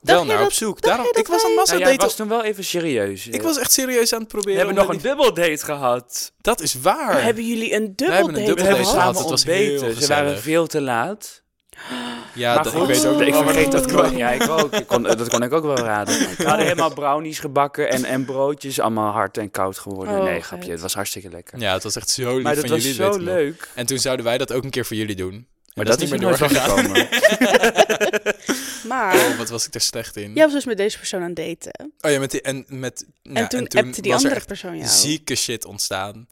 Speaker 2: jij
Speaker 1: wel naar
Speaker 2: dat-
Speaker 1: op zoek.
Speaker 2: dacht
Speaker 1: Daarom,
Speaker 2: jij dat
Speaker 1: ik was een
Speaker 2: wij-
Speaker 1: massa
Speaker 3: Nou,
Speaker 1: date.
Speaker 3: jij was toen wel even serieus. eh,
Speaker 1: Ik was echt serieus aan het
Speaker 3: We
Speaker 1: proberen.
Speaker 3: hebben
Speaker 1: om
Speaker 3: nog
Speaker 1: dat
Speaker 3: een
Speaker 1: niet-
Speaker 3: dubbeldate gehad.
Speaker 1: Dat is waar.
Speaker 2: Hebben jullie een
Speaker 1: We hebben een
Speaker 2: dubbeldate
Speaker 3: We hebben
Speaker 1: dubbeldate gehad.
Speaker 2: gehad?
Speaker 3: samen
Speaker 1: Het was heel
Speaker 3: ontbeten. Ze waren
Speaker 1: gezellig.
Speaker 3: veel te laat.
Speaker 1: Ja,
Speaker 3: maar
Speaker 1: dat,
Speaker 3: goed,
Speaker 1: ik weet ook
Speaker 3: ik
Speaker 1: niet waar
Speaker 3: vergeet dat
Speaker 1: kwam.
Speaker 3: gewoon. Ja, ik ook. Ik kon, dat kon ik ook wel raden. We hadden helemaal brownies gebakken en, en broodjes. Allemaal hard en koud geworden.
Speaker 2: Oh,
Speaker 3: nee,
Speaker 2: vet.
Speaker 3: grapje. Het was hartstikke lekker.
Speaker 1: Ja, het was echt zo lief
Speaker 3: maar
Speaker 1: van
Speaker 3: dat
Speaker 1: jullie.
Speaker 3: was zo
Speaker 1: weet ik nog.
Speaker 3: leuk.
Speaker 1: En toen zouden wij dat ook een keer voor jullie doen. En
Speaker 3: Maar dat is niet meer
Speaker 1: doorgegaan.
Speaker 3: doorgekomen.
Speaker 2: Maar...
Speaker 1: Oh, wat was ik er slecht in.
Speaker 2: Jij was dus met deze persoon aan het daten.
Speaker 1: Oh ja, met die, en, met, ja,
Speaker 2: en toen appte
Speaker 1: was
Speaker 2: die
Speaker 1: er
Speaker 2: andere
Speaker 1: echt
Speaker 2: persoon jou.
Speaker 1: zieke shit ontstaan.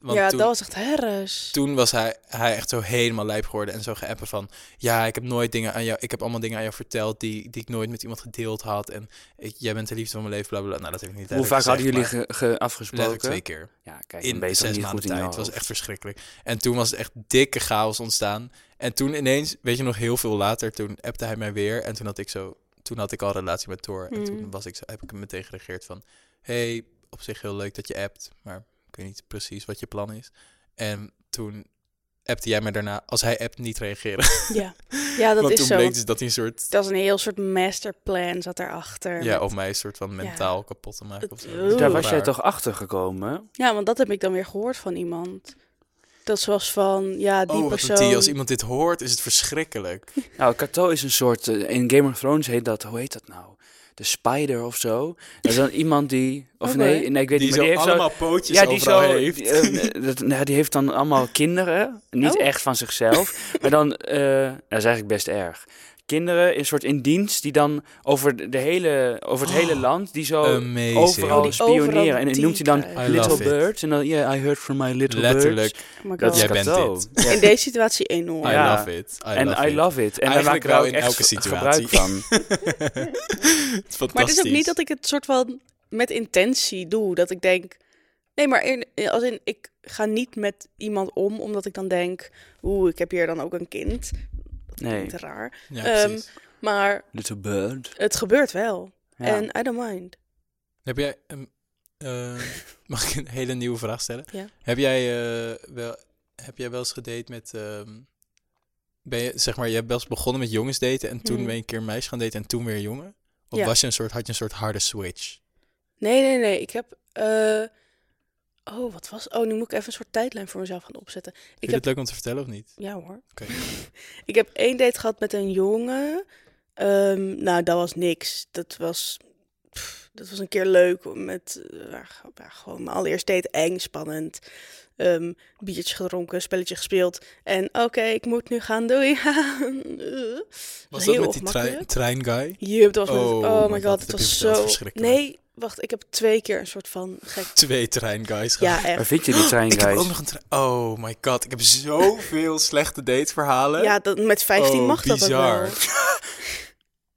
Speaker 1: Want
Speaker 2: ja,
Speaker 1: toen,
Speaker 2: dat was echt herres.
Speaker 1: toen was hij, hij echt zo helemaal lijp geworden en zo geappen van... Ja, ik heb nooit dingen aan jou... Ik heb allemaal dingen aan jou verteld die, die ik nooit met iemand gedeeld had. En ik, jij bent de liefde van mijn leven, bla bla. bla. Nou, dat heb ik niet
Speaker 3: Hoe
Speaker 1: letterlijk
Speaker 3: vaak
Speaker 1: gezegd,
Speaker 3: hadden jullie
Speaker 1: maar
Speaker 3: ge- ge-
Speaker 1: Letterlijk twee
Speaker 3: afgesproken?
Speaker 1: keer.
Speaker 3: Ja, kijk, dan ben
Speaker 1: In
Speaker 3: je toch
Speaker 1: zes
Speaker 3: niet
Speaker 1: maanden
Speaker 3: goed in
Speaker 1: tijd.
Speaker 3: je
Speaker 1: Het was
Speaker 3: hoofd.
Speaker 1: echt verschrikkelijk. En toen was het echt dikke chaos ontstaan. En toen ineens, weet je nog, heel veel later, toen appte hij mij weer. En toen had ik zo... Toen had ik al een relatie met Thor. En
Speaker 2: Mm.
Speaker 1: toen was ik, zo- heb ik hem meteen gereageerd van... hey, op zich heel leuk dat je appt. Maar ik weet niet precies wat je plan is. En toen appte jij mij daarna... Als hij appt, niet reageren.
Speaker 2: Ja, ja dat
Speaker 1: Want
Speaker 2: is
Speaker 1: toen
Speaker 2: zo.
Speaker 1: bleek
Speaker 2: want
Speaker 1: dus dat hij een soort...
Speaker 2: Dat is een heel soort masterplan zat daarachter.
Speaker 1: Ja, of mij een soort van mentaal kapot te maken
Speaker 2: Dat-
Speaker 1: of zo.
Speaker 2: Oeh.
Speaker 3: Daar
Speaker 2: Oeh.
Speaker 3: was jij
Speaker 1: Maar-
Speaker 3: toch achter gekomen?
Speaker 2: ja, want dat heb ik dan weer gehoord van iemand. Dat ze was van, ja, die
Speaker 1: Oh, wat een
Speaker 2: persoon...
Speaker 1: tea. Als iemand dit hoort, is het verschrikkelijk.
Speaker 3: Nou, Kato is een soort. eh, in Game of Thrones heet dat. Hoe heet dat nou? De Spider of zo. Dat is dan iemand die. Of
Speaker 2: Oké.
Speaker 3: nee, nee, ik weet
Speaker 1: Oh, Die
Speaker 3: niet. Maar
Speaker 1: zo
Speaker 3: die heeft zo.
Speaker 1: allemaal pootjes
Speaker 3: Ja, die
Speaker 1: overal
Speaker 3: zo.
Speaker 1: heeft.
Speaker 3: Die, eh, dat, nou, die heeft dan allemaal kinderen. Niet
Speaker 2: Oh.
Speaker 3: echt van zichzelf. maar dan. eh, nou, dat is eigenlijk best erg. Kinderen, een soort in dienst, die dan over, de- de hele, over het hele land. die zo.
Speaker 1: Oh. Amazing.
Speaker 3: Overal
Speaker 2: Oh, die
Speaker 3: spioneren.
Speaker 2: overal
Speaker 3: en
Speaker 2: die
Speaker 3: noemt hij dan
Speaker 2: krijgt.
Speaker 1: I
Speaker 3: Little
Speaker 1: love it.
Speaker 3: Birds. En dan, yeah, I heard from my little
Speaker 1: Letterlijk.
Speaker 3: birds.
Speaker 2: Oh my
Speaker 3: Dat is
Speaker 1: Jij
Speaker 2: God.
Speaker 1: bent
Speaker 3: Kato.
Speaker 1: dit.
Speaker 3: Ja.
Speaker 2: In deze situatie enorm.
Speaker 1: I
Speaker 3: Ja.
Speaker 1: love it. I
Speaker 3: En
Speaker 1: love
Speaker 3: I
Speaker 1: it.
Speaker 3: love it. En daar
Speaker 1: Eigenlijk
Speaker 3: maak ik er
Speaker 1: wel
Speaker 3: ook
Speaker 1: in
Speaker 3: echt
Speaker 1: elke situatie.
Speaker 3: gebruik van.
Speaker 1: Fantastisch.
Speaker 2: Maar het is ook niet dat ik het soort van met intentie doe. Dat ik denk... Nee, maar in, als in, ik ga niet met iemand om, omdat ik dan denk... Oeh, ik heb hier dan ook een kind. Dat
Speaker 3: Nee.
Speaker 2: klinkt raar.
Speaker 1: Ja,
Speaker 2: Ehm,
Speaker 1: precies.
Speaker 2: Maar
Speaker 3: Little bird.
Speaker 2: het gebeurt wel.
Speaker 3: Ja.
Speaker 2: En I don't mind.
Speaker 1: Heb jij... een- eh, mag ik een hele nieuwe vraag stellen?
Speaker 2: Ja.
Speaker 1: Heb jij, eh, wel, heb jij wel eens gedate met... ehm, ben je, zeg maar, je hebt wel eens begonnen met jongens daten... en toen
Speaker 2: Mhm.
Speaker 1: ben je een keer een meisje gaan daten en toen weer jongen? Of
Speaker 2: Ja.
Speaker 1: was je een soort, had je een soort harde switch?
Speaker 2: Nee, nee, nee. Ik heb eh, Oh, wat was... Oh, nu moet ik even een soort tijdlijn voor mezelf gaan opzetten.
Speaker 1: Vind
Speaker 2: Ik
Speaker 1: je
Speaker 2: heb...
Speaker 1: het leuk om te vertellen of niet?
Speaker 2: Ja hoor.
Speaker 1: Oké.
Speaker 2: Ik heb één date gehad met een jongen. Ehm, nou, dat was niks. Dat was... pff, dat was een keer leuk. Met, eh, ja, gewoon mijn allereerste date. Eng, spannend. Ehm, biertje gedronken, spelletje gespeeld. En oké, ik moet nu gaan. Doei.
Speaker 1: Was
Speaker 2: Heel
Speaker 1: dat met die trein,
Speaker 2: ongemakkelijk.
Speaker 1: trein guy?
Speaker 2: Jeep, dat was met-
Speaker 1: Oh
Speaker 2: oh
Speaker 1: my
Speaker 2: my
Speaker 1: god, dat
Speaker 2: god, het
Speaker 1: heb je
Speaker 2: was
Speaker 1: verteld,
Speaker 2: zo...
Speaker 1: verschrikkelijk.
Speaker 2: Nee, wacht, ik heb twee keer een soort van gek...
Speaker 1: Twee trein guys. gehad.
Speaker 2: Ja,
Speaker 3: Waar
Speaker 2: echt.
Speaker 3: vind je die trein,
Speaker 1: Ik heb
Speaker 3: guys?
Speaker 1: ook nog een trein. Oh my god, ik heb zoveel slechte dateverhalen.
Speaker 2: Ja, dat, met 15
Speaker 1: Oh,
Speaker 2: mag dat ook
Speaker 1: bizar.
Speaker 2: wel.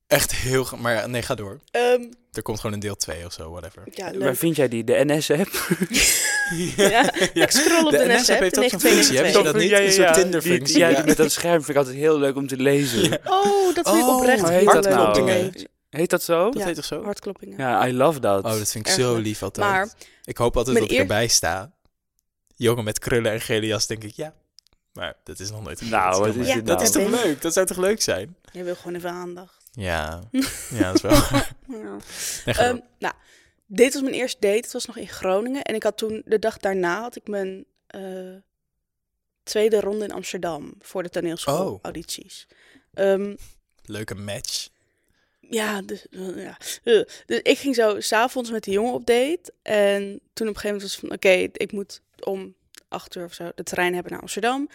Speaker 1: Echt heel... ge- Maar ja, nee, ga door.
Speaker 2: Ehm,
Speaker 1: Er komt gewoon een deel 2 of zo, whatever.
Speaker 2: ja,
Speaker 3: Waar
Speaker 2: leuk.
Speaker 3: vind jij die? De NS-app?
Speaker 2: Ja, ik scroll op de
Speaker 1: NSF
Speaker 2: NSF,
Speaker 1: heeft
Speaker 2: de
Speaker 1: ook zo'n functie, hè? Vind je
Speaker 2: 1992.
Speaker 1: dat niet? Een soort Tinder-functie.
Speaker 3: Ja,
Speaker 1: Ja.
Speaker 3: die met dat scherm vind ik altijd heel leuk om te lezen.
Speaker 2: Oh, dat vind ik
Speaker 1: Oh,
Speaker 2: oprecht
Speaker 1: hoe
Speaker 3: heet
Speaker 2: heel
Speaker 3: dat
Speaker 2: leuk.
Speaker 3: nou?
Speaker 2: Nee,
Speaker 3: Heet dat zo?
Speaker 1: Dat
Speaker 2: Ja.
Speaker 1: heet toch zo?
Speaker 2: Hartkloppingen.
Speaker 3: Ja, I love that.
Speaker 1: Oh, dat vind ik
Speaker 2: Erg
Speaker 1: zo
Speaker 2: leuk.
Speaker 1: lief altijd.
Speaker 2: Maar
Speaker 1: ik hoop altijd
Speaker 2: mijn
Speaker 1: dat ik
Speaker 2: eer-
Speaker 1: erbij sta. Jongen met krullen en gele jas, denk ik, ja. Maar dat is nog nooit gebeurd.
Speaker 3: Nou,
Speaker 1: Dat
Speaker 3: wat
Speaker 1: heel
Speaker 3: is
Speaker 1: mooi.
Speaker 3: dit
Speaker 1: Dat
Speaker 3: nou?
Speaker 1: is toch leuk? Dat zou toch leuk zijn?
Speaker 2: je wil gewoon even aandacht.
Speaker 1: Ja, ja dat is wel...
Speaker 2: Ja.
Speaker 1: Nee, ga door.
Speaker 2: Ehm, nou, dit was mijn eerste date. Het was nog in Groningen. En ik had toen, de dag daarna, had ik mijn eh, tweede ronde in Amsterdam voor de toneelschool
Speaker 1: Oh.
Speaker 2: audities. Ehm,
Speaker 1: Leuke match.
Speaker 2: ja, dus, eh, ja. Eh, dus ik ging zo s'avonds met die jongen op date. En toen op een gegeven moment was het van, oké, ik moet om acht uur of zo de trein hebben naar Amsterdam.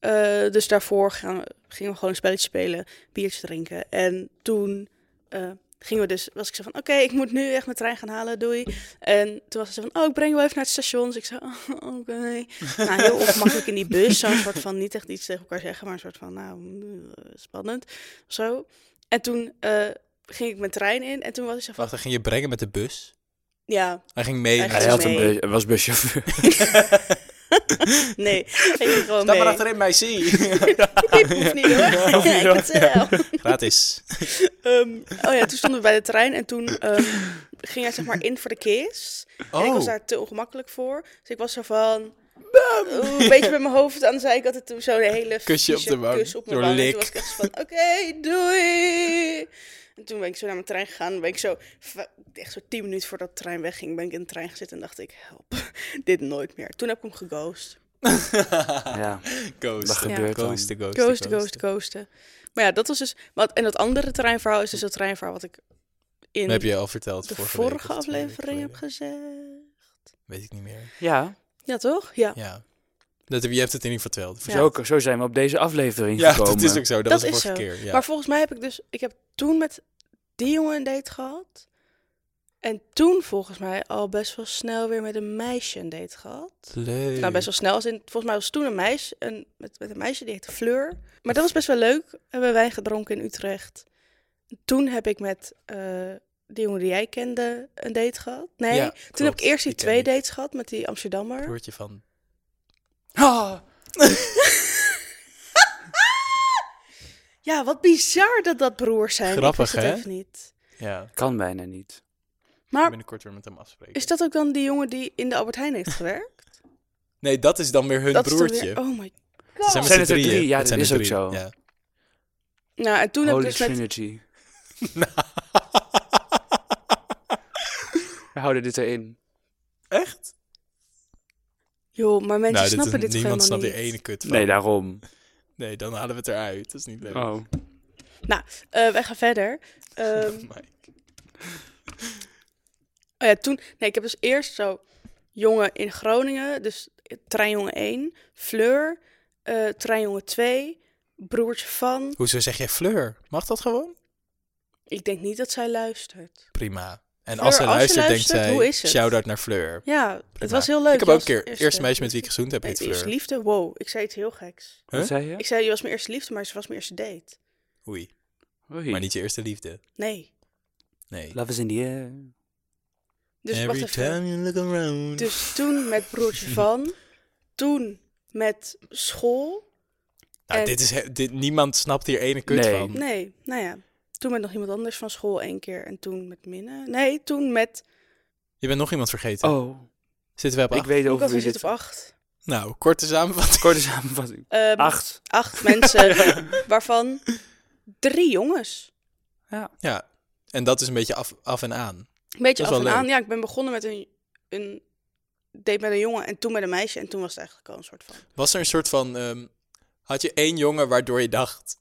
Speaker 2: Eh, dus daarvoor gaan we- gingen we gewoon een spelletje spelen, biertje drinken. En toen eh, gingen we dus, was ik zo van, oké, ik moet nu echt mijn trein gaan halen, doei. En toen was ze van, oh, ik breng je wel even naar het station. Dus ik zei, oh, oké. Nou, heel ongemakkelijk in die bus, zo'n soort van, niet echt iets tegen elkaar zeggen, maar een soort van, nou, mm, eh, spannend, of zo. En toen eh, ging ik mijn trein in en toen was ik zo van,
Speaker 1: Wacht, hij ging je brengen met de bus?
Speaker 2: ja,
Speaker 1: Hij ging mee.
Speaker 2: Hij
Speaker 1: naar
Speaker 3: Hij
Speaker 1: de
Speaker 2: ging
Speaker 3: had
Speaker 1: bus.
Speaker 3: een
Speaker 2: mee.
Speaker 3: bus, hij was buschauffeur.
Speaker 2: nee, ging ik gewoon
Speaker 1: Stap
Speaker 2: mee.
Speaker 1: maar achterin bij C.
Speaker 2: Piep, hoeft niet hoor. Ja, ik het wel.
Speaker 1: Gratis.
Speaker 2: Ehm, oh ja, toen stonden we bij de trein en toen ehm, ging hij zeg maar in voor de kist.
Speaker 1: Oh.
Speaker 2: En ik was daar te ongemakkelijk voor. Dus ik was zo van... Oeh, een beetje met mijn hoofd aan de zijkant. En toen zo'n hele
Speaker 1: Kusje op
Speaker 2: vieze
Speaker 1: de wang.
Speaker 2: kus op mijn
Speaker 1: Zo'n
Speaker 2: wang. En
Speaker 1: lik.
Speaker 2: toen was ik echt zo van, oké, doei. En toen ben ik zo naar mijn trein gegaan. Ben ik zo, v- echt zo tien minuten voordat de trein wegging, ben ik in de trein gezeten en dacht ik, help, dit nooit meer. Toen heb ik hem geghost.
Speaker 3: Ja,
Speaker 1: Ghost.
Speaker 3: dat gebeurt dan.
Speaker 1: Ghosten, ghosten,
Speaker 2: Ghosten, ghosten, ghosten. Maar ja, dat was dus... Wat, en dat andere treinverhaal is dus dat treinverhaal wat ik in
Speaker 1: Dat heb je al verteld.
Speaker 2: de
Speaker 1: vorige week
Speaker 2: vorige
Speaker 1: of twee weken
Speaker 2: aflevering heb
Speaker 1: geleden.
Speaker 2: gezegd.
Speaker 1: Weet ik niet meer.
Speaker 3: ja
Speaker 2: Ja, toch? Ja.
Speaker 1: Ja. Dat heb, je hebt het in ieder geval verteld.
Speaker 2: Ja.
Speaker 3: Zo, zo zijn we op deze aflevering
Speaker 1: Ja,
Speaker 3: gekomen.
Speaker 1: dat is ook zo. Dat,
Speaker 2: Dat
Speaker 1: was de
Speaker 2: is
Speaker 1: vorige
Speaker 2: zo.
Speaker 1: keer. Ja.
Speaker 2: Maar volgens mij heb ik dus... Ik heb toen met die jongen een date gehad. En toen volgens mij al best wel snel weer met een meisje een date gehad.
Speaker 1: Leuk.
Speaker 2: Nou, best wel snel. Als in, volgens mij was toen een meisje, een, met, met een meisje die heette Fleur. Maar dat was best wel leuk. Hebben wij gedronken in Utrecht. Toen heb ik met eh die jongen die jij kende een date gehad. Nee,
Speaker 1: Ja,
Speaker 2: toen
Speaker 1: klopt.
Speaker 2: heb ik eerst die,
Speaker 1: Die ken
Speaker 2: twee
Speaker 1: ik.
Speaker 2: dates gehad met die Amsterdammer.
Speaker 1: Broertje van...
Speaker 3: Ah,
Speaker 2: Ja, wat bizar dat dat broers zijn. Ik
Speaker 1: Grappig,
Speaker 2: wist het
Speaker 1: hè?
Speaker 2: Even niet.
Speaker 1: Ja, ik
Speaker 3: kan bijna niet.
Speaker 1: ga
Speaker 2: Maar
Speaker 1: binnenkort weer met hem afspreken.
Speaker 2: is dat ook dan die jongen die in de Albert Heijn heeft gewerkt?
Speaker 1: Nee, dat is dan weer hun
Speaker 2: dat is dan
Speaker 1: broertje.
Speaker 2: weer- oh my.
Speaker 1: Ze zijn, met
Speaker 3: Zijn
Speaker 1: z'n
Speaker 3: het er
Speaker 1: drieën.
Speaker 3: drie?
Speaker 1: Het
Speaker 3: Ja, dat
Speaker 1: zijn er
Speaker 3: is ook
Speaker 1: drie,
Speaker 3: zo.
Speaker 1: ja.
Speaker 2: Nou, en toen heb
Speaker 3: Holy
Speaker 2: ik dus met
Speaker 3: Trinity. We houden dit erin.
Speaker 1: Echt?
Speaker 2: joh, maar mensen
Speaker 1: nou, dit
Speaker 2: snappen
Speaker 1: is,
Speaker 2: dit,
Speaker 1: niemand
Speaker 2: helemaal
Speaker 1: snapt
Speaker 2: niet.
Speaker 1: hier ene kut van.
Speaker 3: Nee, daarom.
Speaker 1: Nee, dan halen we het eruit. Dat is niet leuk.
Speaker 3: Oh.
Speaker 2: Eh, wij gaan verder. Ehm,
Speaker 1: Maar-
Speaker 2: Oh ja, toen, nee, ik heb dus eerst zo jongen in Groningen, dus treinjongen 1, Fleur, eh, treinjongen 2, broertje van.
Speaker 1: Hoezo zeg jij Fleur? Mag dat gewoon?
Speaker 2: Ik denk niet dat zij luistert.
Speaker 1: Prima. En
Speaker 2: Fleur,
Speaker 1: als ze
Speaker 2: als je
Speaker 1: luistert, denkt
Speaker 2: luistert, hoe
Speaker 1: zij,
Speaker 2: is het?
Speaker 1: shout-out naar Fleur.
Speaker 2: Ja, het
Speaker 1: Prima.
Speaker 2: was heel leuk.
Speaker 1: Ik heb
Speaker 2: Je
Speaker 1: ook een
Speaker 2: was
Speaker 1: keer,
Speaker 2: eerste-
Speaker 1: eerste meisje met wie ik gezoend heb, heet
Speaker 2: Nee, eerste
Speaker 1: Fleur.
Speaker 2: liefde, wow, ik zei iets heel geks.
Speaker 1: Huh?
Speaker 3: Wat zei je?
Speaker 2: Ik zei, je was mijn eerste liefde, maar ze was mijn eerste date.
Speaker 1: Oei,
Speaker 3: Oei.
Speaker 1: maar niet je eerste liefde.
Speaker 2: Nee.
Speaker 1: Nee.
Speaker 3: Love is in the air.
Speaker 2: Dus
Speaker 1: Every
Speaker 2: wacht even.
Speaker 1: time you look around.
Speaker 2: Dus toen met broertje van, toen met school.
Speaker 1: nou,
Speaker 2: en-
Speaker 1: dit is, he- dit, niemand snapt hier ene kut
Speaker 3: Nee.
Speaker 1: van.
Speaker 2: Nee, nou ja. Toen met nog iemand anders van school één keer en toen met Minne. Nee, toen met
Speaker 1: Je bent nog iemand vergeten.
Speaker 3: Oh,
Speaker 1: Zitten we op
Speaker 3: ik
Speaker 1: acht?
Speaker 3: weet
Speaker 2: Ik
Speaker 3: over
Speaker 2: was
Speaker 3: wie
Speaker 2: weer zit op
Speaker 3: dit...
Speaker 2: acht.
Speaker 1: Nou, korte samenvatting.
Speaker 3: Korte samenvatting.
Speaker 2: Ehm,
Speaker 3: Acht.
Speaker 2: acht mensen, waarvan drie jongens.
Speaker 1: Ja, en dat is een beetje af, af en aan.
Speaker 2: Een beetje
Speaker 1: Dat
Speaker 2: af
Speaker 1: is
Speaker 2: en
Speaker 1: wel leuk.
Speaker 2: aan. Ja, ik ben begonnen met een, een deed met een jongen en toen met een meisje. En toen was het eigenlijk al een soort van...
Speaker 1: Was er een soort van... ehm, had je één jongen waardoor je dacht...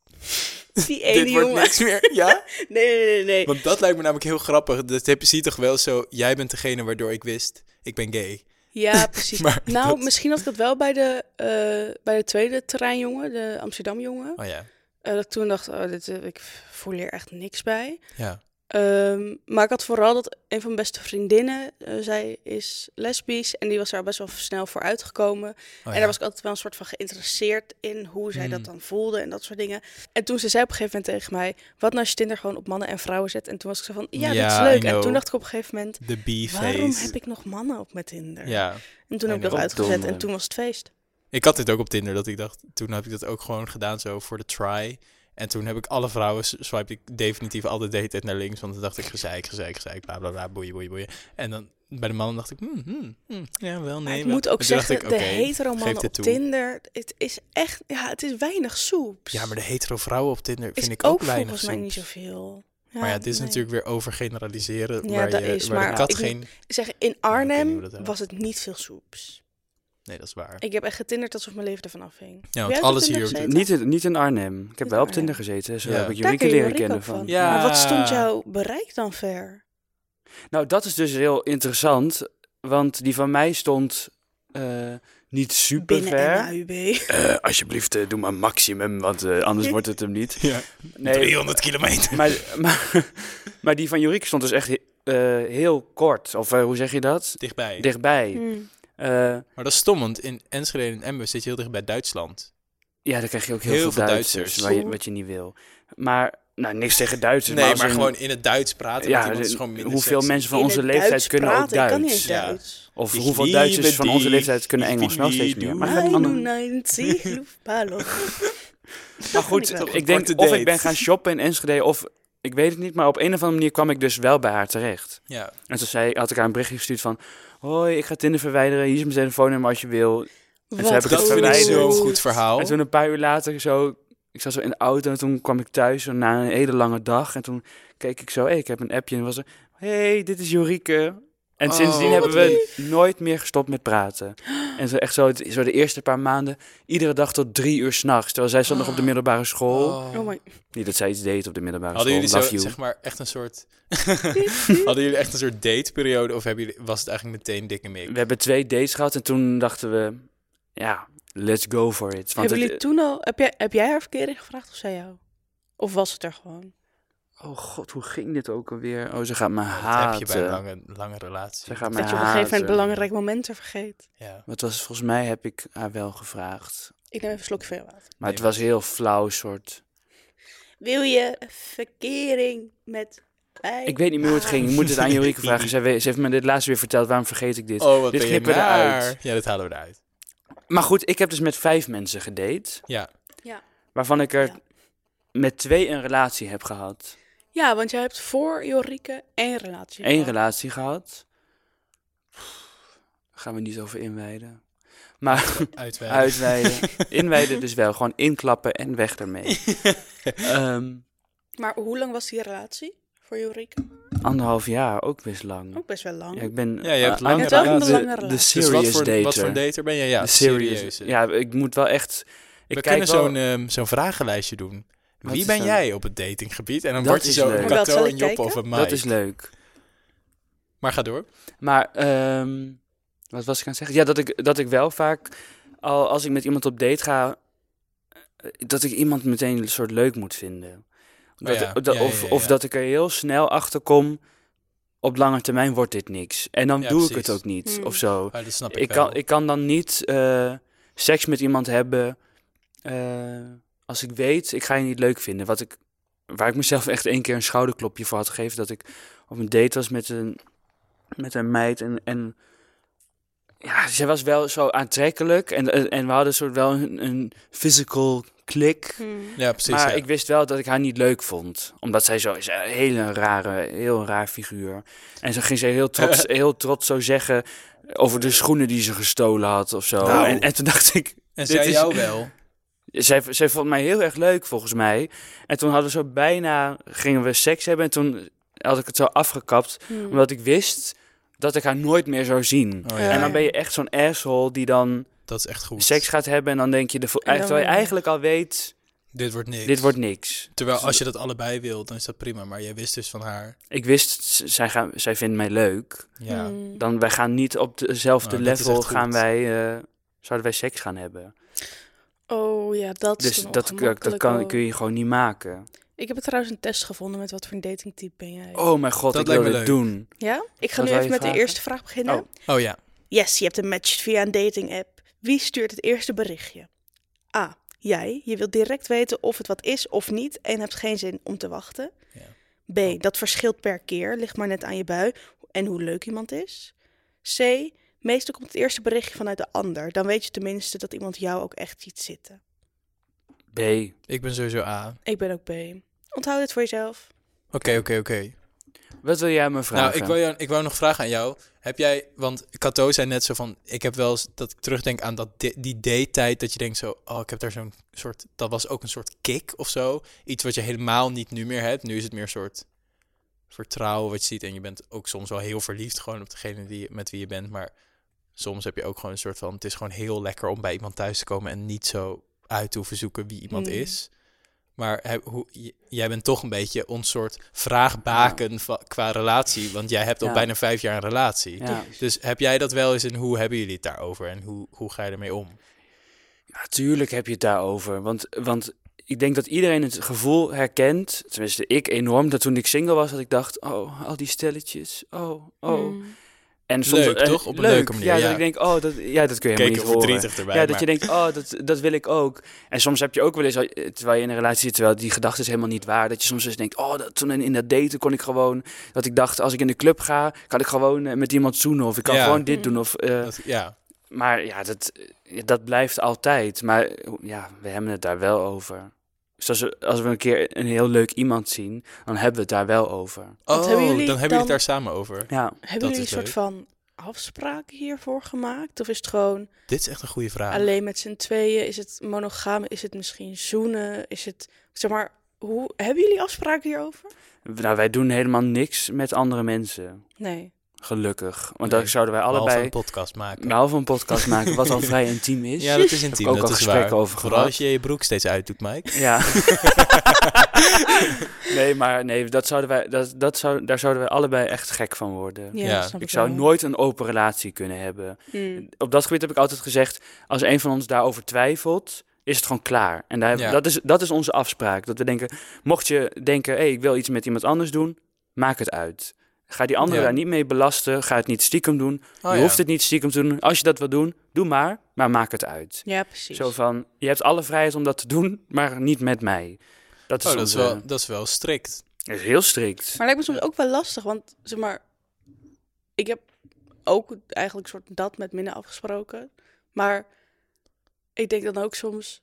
Speaker 2: Die
Speaker 1: Dit
Speaker 2: ene
Speaker 1: wordt
Speaker 2: jongen.
Speaker 1: niks meer. Ja?
Speaker 2: Nee, nee, nee, nee.
Speaker 1: Want dat lijkt me namelijk heel grappig. Dat heb je ziet toch wel zo... Jij bent degene waardoor ik wist... Ik ben gay.
Speaker 2: Ja, precies.
Speaker 1: Maar
Speaker 2: nou,
Speaker 1: dat-
Speaker 2: misschien had ik dat wel bij de, eh, bij de tweede terreinjongen, de Amsterdamjongen.
Speaker 1: Oh ja.
Speaker 2: Eh, dat ik toen dacht, oh, dit, eh, ik voel hier echt niks bij.
Speaker 1: Ja.
Speaker 2: Ehm, maar ik had vooral dat een van mijn beste vriendinnen, eh, zij is lesbisch en die was daar best wel snel voor uitgekomen.
Speaker 1: Oh
Speaker 2: en
Speaker 1: ja.
Speaker 2: daar was ik altijd wel een soort van geïnteresseerd in hoe zij dat
Speaker 1: Hmm.
Speaker 2: dan voelde en dat soort dingen. En toen ze zei op een gegeven moment tegen mij, wat nou als je Tinder gewoon op mannen en vrouwen zet? En toen was ik zo van, ja, dit
Speaker 1: Ja,
Speaker 2: is leuk.
Speaker 1: I
Speaker 2: En
Speaker 1: know.
Speaker 2: toen dacht ik op een gegeven moment,
Speaker 1: De B-face.
Speaker 2: waarom heb ik nog mannen op mijn Tinder?
Speaker 1: Ja.
Speaker 2: En toen
Speaker 1: I
Speaker 2: heb ik dat
Speaker 1: know.
Speaker 2: uitgezet en
Speaker 3: Domme.
Speaker 2: toen was het feest.
Speaker 1: Ik had dit ook op Tinder, dat ik dacht, toen heb ik dat ook gewoon gedaan zo voor de try. En toen heb ik alle vrouwen, s- swipe ik definitief altijd de hele tijd naar links, want dan dacht ik gezeik, gezeik, gezeik, bla bla bla, boeien, boeien, boeien. En dan bij de mannen dacht ik, hmm, hmm, hmm, ja wel,
Speaker 2: Maar
Speaker 1: nee.
Speaker 2: ik
Speaker 1: wel.
Speaker 2: moet ook
Speaker 1: En toen dacht
Speaker 2: zeggen,
Speaker 1: ik,
Speaker 2: de
Speaker 1: oké,
Speaker 2: hetero
Speaker 1: geef
Speaker 2: mannen
Speaker 1: dit
Speaker 2: op
Speaker 1: toe.
Speaker 2: Tinder, het is echt, ja, het is weinig soeps.
Speaker 1: Ja, maar de hetero vrouwen op Tinder
Speaker 2: is
Speaker 1: vind ik ook, weinig
Speaker 2: volgens mij niet
Speaker 1: soeps.
Speaker 2: zoveel.
Speaker 1: Maar ja, dit is
Speaker 2: nee.
Speaker 1: natuurlijk weer overgeneraliseren,
Speaker 2: Ja,
Speaker 1: waar,
Speaker 2: dat
Speaker 1: je,
Speaker 2: is,
Speaker 1: waar
Speaker 2: maar
Speaker 1: de kat
Speaker 2: ik moet-
Speaker 1: geen...
Speaker 2: Ik zeg, in
Speaker 1: niet hoe
Speaker 2: Arnhem
Speaker 1: dat helpt.
Speaker 2: was het niet veel soeps.
Speaker 1: Nee, dat is waar.
Speaker 2: Ik heb echt getinderd alsof mijn leven ervan afhing.
Speaker 1: Ja,
Speaker 2: Heb jij
Speaker 1: want
Speaker 2: op
Speaker 1: alles
Speaker 2: Tinder
Speaker 1: hier... op-
Speaker 2: gezeten?
Speaker 3: Niet in, niet in Arnhem. Ik heb
Speaker 2: in
Speaker 3: wel op
Speaker 2: Arnhem.
Speaker 3: Tinder gezeten, zo
Speaker 1: Ja.
Speaker 3: heb
Speaker 2: Daar
Speaker 3: ik Jurike
Speaker 2: ken je
Speaker 3: leren
Speaker 2: Marieke
Speaker 3: kennen
Speaker 2: ook
Speaker 3: van.
Speaker 2: van.
Speaker 1: Ja.
Speaker 2: Maar wat
Speaker 3: Eh,
Speaker 2: stond jouw bereik dan ver?
Speaker 3: Nou, dat is dus heel interessant, want die van mij stond eh, niet super
Speaker 2: Binnen
Speaker 3: ver.
Speaker 2: NAUB.
Speaker 3: Eh, alsjeblieft, eh, doe maar maximum, want eh, anders wordt het hem niet.
Speaker 1: Ja,
Speaker 3: Nee,
Speaker 1: 300 kilometer.
Speaker 3: maar, maar, maar die van Jurike stond dus echt eh, heel kort, of eh, hoe zeg je dat?
Speaker 1: Dichtbij.
Speaker 3: Dichtbij.
Speaker 2: Hmm.
Speaker 3: Eh,
Speaker 1: Maar dat is stom, want in Enschede en Emmen zit je heel dicht bij Duitsland.
Speaker 3: ja, dan krijg je ook heel,
Speaker 1: Heel
Speaker 3: veel,
Speaker 1: veel
Speaker 3: Duitsers,
Speaker 1: Duitsers.
Speaker 3: Waar je, wat je niet wil. Maar, nou, niks tegen Duitsers.
Speaker 1: Nee,
Speaker 3: maar,
Speaker 1: maar,
Speaker 3: als een-
Speaker 1: gewoon in het Duits praten met
Speaker 3: ja,
Speaker 1: iemand is gewoon minder
Speaker 3: hoeveel
Speaker 1: sexy.
Speaker 3: mensen van
Speaker 2: In
Speaker 3: onze
Speaker 2: het
Speaker 3: leeftijd
Speaker 2: Duits
Speaker 3: kunnen ook
Speaker 2: praten, Ik kan niet
Speaker 3: Duits.
Speaker 2: eens
Speaker 1: Ja.
Speaker 2: Duits.
Speaker 3: Of
Speaker 1: Ik
Speaker 3: hoeveel
Speaker 1: liebe
Speaker 3: Duitsers van onze
Speaker 1: dich.
Speaker 3: leeftijd kunnen
Speaker 1: Ich
Speaker 3: Engels nog steeds
Speaker 1: liebe
Speaker 3: meer. Maar,
Speaker 1: du.
Speaker 3: dat is een ander-
Speaker 2: 91 Luftballon.
Speaker 3: maar
Speaker 2: vind ik
Speaker 3: goed,
Speaker 2: wel.
Speaker 3: ik denk
Speaker 1: Korte
Speaker 3: of
Speaker 1: date.
Speaker 3: ik ben gaan shoppen in Enschede of ik weet het niet, maar op een of andere manier kwam ik dus wel bij haar terecht.
Speaker 1: Ja,
Speaker 3: En toen zei, had ik haar een berichtje gestuurd van, hoi, ik ga Tinder verwijderen, hier is mijn telefoonnummer als je wil.
Speaker 2: Wat
Speaker 3: ze hebben
Speaker 1: dat
Speaker 3: het
Speaker 1: vind ik
Speaker 3: verwijderd.
Speaker 1: zo'n goed verhaal.
Speaker 3: En toen een paar uur later zo, ik zat zo in de auto en toen kwam ik thuis zo na een hele lange dag. En toen keek ik zo, hey, ik heb een appje en was er, hey, dit is Jorike. En
Speaker 1: Oh,
Speaker 3: sindsdien hebben
Speaker 1: wat
Speaker 3: we nooit meer gestopt met praten. En zo echt zo, het- zo de eerste paar maanden, iedere dag tot drie uur s'nachts. Terwijl zij zat nog op de middelbare school.
Speaker 2: Oh my...
Speaker 3: Niet dat zij iets deed op de middelbare
Speaker 1: Hadden jullie
Speaker 3: school,
Speaker 1: zo,
Speaker 3: love you.
Speaker 1: zeg maar, echt een soort... Hadden jullie echt een soort dateperiode of hebben jullie, was het eigenlijk meteen dikke mik?
Speaker 3: We hebben twee dates gehad en toen dachten we, ja, let's go for it. Want
Speaker 2: Hebben
Speaker 3: het-
Speaker 2: jullie toen al... Heb jij, heb jij haar verkering gevraagd of zij jou? Of was het er gewoon?
Speaker 3: Oh god, hoe ging dit ook alweer? Oh, ze gaat me
Speaker 1: Dat
Speaker 3: haten.
Speaker 1: heb je bij een lange,
Speaker 3: eh.
Speaker 1: lange relatie.
Speaker 3: Ze gaat me
Speaker 2: Dat je op een gegeven moment
Speaker 3: haten.
Speaker 2: belangrijk momenten vergeet.
Speaker 1: Ja.
Speaker 3: Maar het was, volgens mij heb ik haar wel gevraagd.
Speaker 2: Ik neem even een slokje van je water.
Speaker 3: Maar het
Speaker 1: Nee,
Speaker 3: was heel flauw soort.
Speaker 2: Wil je verkering met mij?
Speaker 3: Ik weet niet meer hoe het ging. Ik moet het aan Jorike vragen. Zij weet- ze heeft me dit laatst weer verteld. Waarom vergeet ik dit?
Speaker 1: Oh, wat
Speaker 3: dit
Speaker 1: ben je
Speaker 3: knippen we eruit.
Speaker 1: naar. Ja, dat halen we eruit.
Speaker 3: Maar goed, ik heb dus met vijf mensen gedate.
Speaker 1: Ja.
Speaker 3: Waarvan ik er
Speaker 2: Ja.
Speaker 3: met twee een relatie heb gehad.
Speaker 2: Ja, want jij hebt voor Jorike één relatie.
Speaker 3: Eén
Speaker 2: gehad.
Speaker 3: relatie gehad. Pff, Gaan we niet over inwijden. Maar
Speaker 1: Uitwijden.
Speaker 3: uitwijden. Inwijden dus wel. Gewoon inklappen en weg
Speaker 1: Dus
Speaker 3: ermee. Ehm,
Speaker 2: Maar hoe lang was die relatie voor Jorike?
Speaker 3: anderhalf jaar, ook best lang.
Speaker 2: Ook best wel lang.
Speaker 3: Mm. Ja, ik ben.
Speaker 1: Ja, je hebt
Speaker 3: eh,
Speaker 1: lange
Speaker 3: I'm
Speaker 1: relaties. Je hebt
Speaker 2: wel een lange
Speaker 3: de, de
Speaker 2: relatie.
Speaker 1: Dus
Speaker 3: serious
Speaker 1: wat voor,
Speaker 3: dater.
Speaker 1: wat voor dater ben je? Ja,
Speaker 3: de
Speaker 1: de
Speaker 3: serious.
Speaker 1: serieuze.
Speaker 3: Ja, ik moet wel echt. Ik
Speaker 1: we
Speaker 3: kijk
Speaker 1: kunnen
Speaker 3: wel-
Speaker 1: zo'n ehm, zo'n vragenlijstje doen.
Speaker 3: Wat
Speaker 1: Wie
Speaker 3: is
Speaker 1: ben
Speaker 3: dan-
Speaker 1: jij op het datinggebied? En dan
Speaker 3: Dat
Speaker 1: word je
Speaker 3: is
Speaker 1: zo
Speaker 3: leuk.
Speaker 1: een
Speaker 3: Maar
Speaker 2: wel,
Speaker 1: Cato,
Speaker 2: zal ik
Speaker 1: een Job
Speaker 2: kijken?
Speaker 1: of een Mike.
Speaker 3: Dat is leuk.
Speaker 1: Maar ga door. Oh,
Speaker 3: Maar ehm, wat was ik aan het zeggen? Ja, dat ik, dat ik wel vaak al als ik met iemand op date ga, eh, dat ik iemand meteen een soort leuk moet vinden.
Speaker 1: Oh
Speaker 3: Dat,
Speaker 1: ja,
Speaker 3: dat-
Speaker 1: ja,
Speaker 3: of,
Speaker 1: ja, ja,
Speaker 3: of
Speaker 1: ja.
Speaker 3: dat ik er heel snel achter kom. Op lange termijn wordt dit niks. En dan
Speaker 1: Ja,
Speaker 3: doe ik
Speaker 1: precies.
Speaker 3: het ook niet.
Speaker 2: Hmm.
Speaker 3: Of zo.
Speaker 1: Ah, dat snap ik,
Speaker 3: ik,
Speaker 1: wel.
Speaker 3: kan, ik kan dan niet eh, seks met iemand hebben eh, als ik weet, ik ga je niet leuk vinden. Wat ik, waar ik mezelf echt één keer een schouderklopje voor had gegeven. Dat ik op een date was met een, met een meid en... en ja, ze was wel zo aantrekkelijk en, en- en we hadden soort wel een, een physical klik.
Speaker 2: Hmm.
Speaker 1: Ja, precies.
Speaker 3: maar
Speaker 1: ja.
Speaker 3: ik wist wel dat ik haar niet leuk vond. Omdat zij zo is een hele rare, heel raar figuur. En ze ging ze heel trots, heel trots zo zeggen over de schoenen die ze gestolen had of zo.
Speaker 1: Nou.
Speaker 3: En, en toen dacht ik,
Speaker 1: En
Speaker 3: Dit
Speaker 1: zij
Speaker 3: is-
Speaker 1: jou wel? Oh,
Speaker 3: zij, zij vond mij heel erg leuk volgens mij. En toen hadden we zo bijna, gingen we seks hebben en toen had ik het zo afgekapt.
Speaker 2: Hmm.
Speaker 3: Omdat ik wist, dat ik haar nooit meer zou zien.
Speaker 1: Oh,
Speaker 2: Ja,
Speaker 3: En
Speaker 2: ja.
Speaker 3: dan ben je echt zo'n asshole die dan
Speaker 1: Dat is echt goed.
Speaker 3: seks gaat hebben en dan denk je, de vo-
Speaker 2: En dan-
Speaker 3: terwijl je eigenlijk al weet,
Speaker 1: Dit wordt niks.
Speaker 3: dit wordt niks.
Speaker 1: Terwijl als je dat allebei wilt, dan is dat prima. Maar jij wist dus van haar.
Speaker 3: Ik wist, z- zij, gaan, zij vindt mij leuk.
Speaker 1: Ja.
Speaker 2: Mm.
Speaker 3: Dan wij gaan niet op dezelfde
Speaker 1: Nou, dat is
Speaker 3: level,
Speaker 1: echt goed.
Speaker 3: gaan wij, eh, zouden wij seks gaan hebben.
Speaker 2: Oh ja, dat is
Speaker 3: dus
Speaker 2: dan
Speaker 3: dat, dat,
Speaker 2: ongemakkelijk
Speaker 3: kan,
Speaker 2: ook.
Speaker 3: kun je gewoon niet maken.
Speaker 2: Ik heb trouwens een test gevonden met wat voor een datingtype ben jij.
Speaker 3: Oh mijn god,
Speaker 1: Dat
Speaker 3: ik wil
Speaker 1: lijkt me
Speaker 3: dit
Speaker 1: leuk.
Speaker 3: doen.
Speaker 2: Ja? Ik ga
Speaker 3: Wat
Speaker 2: nu even
Speaker 3: wou je
Speaker 2: met de
Speaker 3: vragen?
Speaker 2: eerste vraag beginnen.
Speaker 3: Oh.
Speaker 1: Oh ja.
Speaker 2: Yes, je hebt een match via een dating-app. Wie stuurt het eerste berichtje? A. Jij. Je wilt direct weten of het wat is of niet en hebt geen zin om te wachten.
Speaker 1: Ja. Oh.
Speaker 2: B. Dat verschilt per keer, ligt maar net aan je bui en hoe leuk iemand is. C. Meestal komt het eerste berichtje vanuit de ander. Dan weet je tenminste dat iemand jou ook echt ziet zitten.
Speaker 3: B.
Speaker 1: Ik ben sowieso A.
Speaker 2: Ik ben ook B. Onthoud dit voor jezelf.
Speaker 1: Oké, oké, oké.
Speaker 3: Wat wil jij me vragen?
Speaker 1: Nou, ik wou, jou, ik wou nog vragen aan jou. Heb jij, want Cato zei net zo van, ik heb wel eens dat ik terugdenk aan dat di- die date-tijd dat je denkt zo, oh, ik heb daar zo'n soort, dat was ook een soort kick of zo. Iets wat je helemaal niet nu meer hebt. Nu is het meer een soort vertrouwen wat je ziet en je bent ook soms wel heel verliefd gewoon op degene die, met wie je bent. Maar soms heb je ook gewoon een soort van, het is gewoon heel lekker om bij iemand thuis te komen en niet zo uit te hoeven zoeken wie iemand
Speaker 2: Mm.
Speaker 1: is. Maar he- hoe, j- jij bent toch een beetje ons soort vraagbaken va- qua relatie. Want jij hebt al
Speaker 3: Ja.
Speaker 1: bijna vijf jaar een relatie.
Speaker 3: Ja.
Speaker 1: Dus heb jij dat wel eens en hoe hebben jullie het daarover? En hoe, hoe ga je ermee om?
Speaker 3: Natuurlijk heb je het daarover. Want, want ik denk dat iedereen het gevoel herkent, tenminste ik enorm, dat toen ik single was, dat ik dacht, oh, al die stelletjes, oh, oh.
Speaker 2: Mm.
Speaker 3: En
Speaker 1: Leuk,
Speaker 3: eh,
Speaker 1: toch? Op een
Speaker 3: leuk,
Speaker 1: leuke manier,
Speaker 3: Ja,
Speaker 1: ja.
Speaker 3: dat ik denk, oh, dat, ja, dat kun je
Speaker 1: Kijk,
Speaker 3: helemaal niet horen.
Speaker 1: verdrietig erbij.
Speaker 3: Ja, dat
Speaker 1: maar-
Speaker 3: je denkt, oh, dat, dat wil ik ook. En soms heb je ook wel eens, al- eh, terwijl je in een relatie zit, terwijl die gedachte is helemaal niet waar, dat je soms eens denkt, oh, dat, toen in, in dat daten kon ik gewoon, dat ik dacht, als ik in de club ga, kan ik gewoon eh, met iemand zoenen, of ik kan
Speaker 1: Ja.
Speaker 3: gewoon dit
Speaker 2: Mm.
Speaker 3: doen, of... eh,
Speaker 1: dat- ja.
Speaker 3: maar ja, dat, eh, dat blijft altijd. Maar eh, ja, we hebben het daar wel over. Dus als we, als we een keer een heel leuk iemand zien, dan hebben we het daar wel over.
Speaker 2: Wat
Speaker 1: Oh, dan
Speaker 2: hebben jullie
Speaker 1: hebben jullie
Speaker 2: dan-
Speaker 1: het daar samen over.
Speaker 3: Ja,
Speaker 2: Hebben
Speaker 1: Dat
Speaker 2: jullie een
Speaker 1: is
Speaker 2: soort
Speaker 1: leuk.
Speaker 2: van afspraken hiervoor gemaakt? Of is het gewoon
Speaker 1: Dit is echt een goede vraag.
Speaker 2: alleen met z'n tweeën? Is het monogaam? Is het misschien zoenen? Is het, zeg maar, hoe, hebben jullie afspraken hierover?
Speaker 3: nou, wij doen helemaal niks met andere mensen.
Speaker 2: Nee.
Speaker 3: Gelukkig. Want
Speaker 1: Nee,
Speaker 3: dan zouden wij
Speaker 1: Behalve
Speaker 3: allebei
Speaker 1: een podcast maken.
Speaker 3: behalve een podcast maken, wat al vrij intiem is.
Speaker 1: ja, dat is intiem.
Speaker 3: ook
Speaker 1: dat
Speaker 3: al
Speaker 1: is
Speaker 3: gesprekken
Speaker 1: waar.
Speaker 3: over
Speaker 1: Vooral
Speaker 3: gehad.
Speaker 1: als je je broek steeds uitdoet, Mike. Oh
Speaker 3: Ja. nee, maar nee, dat zouden wij, dat, dat zou, daar zouden wij allebei echt gek van worden.
Speaker 2: Ja,
Speaker 1: Ja,
Speaker 2: snap
Speaker 3: Ik zou
Speaker 2: wel.
Speaker 3: nooit een open relatie kunnen hebben.
Speaker 2: Hmm.
Speaker 3: op dat gebied heb ik altijd gezegd: als een van ons daarover twijfelt, is het gewoon klaar. En daar,
Speaker 1: Ja.
Speaker 3: dat, is, dat is onze afspraak. Dat we denken: mocht je denken, hé, hey, ik wil iets met iemand anders doen, maak het uit. Ga die andere
Speaker 1: Ja. Oh
Speaker 3: daar niet mee belasten. Ga het niet stiekem doen. je hoeft het niet stiekem te doen. Als je dat wil doen, doe maar, maar maak het uit.
Speaker 2: Ja, precies.
Speaker 3: Zo van: je hebt alle vrijheid om dat te doen, maar niet met mij. Dat is,
Speaker 1: Oh, dat is
Speaker 3: onze-
Speaker 1: wel, dat is wel strikt.
Speaker 3: dat is heel strikt.
Speaker 2: Maar het lijkt me soms ook wel lastig, want zeg maar, ik heb ook eigenlijk soort dat met minder afgesproken. Maar ik denk dan ook soms,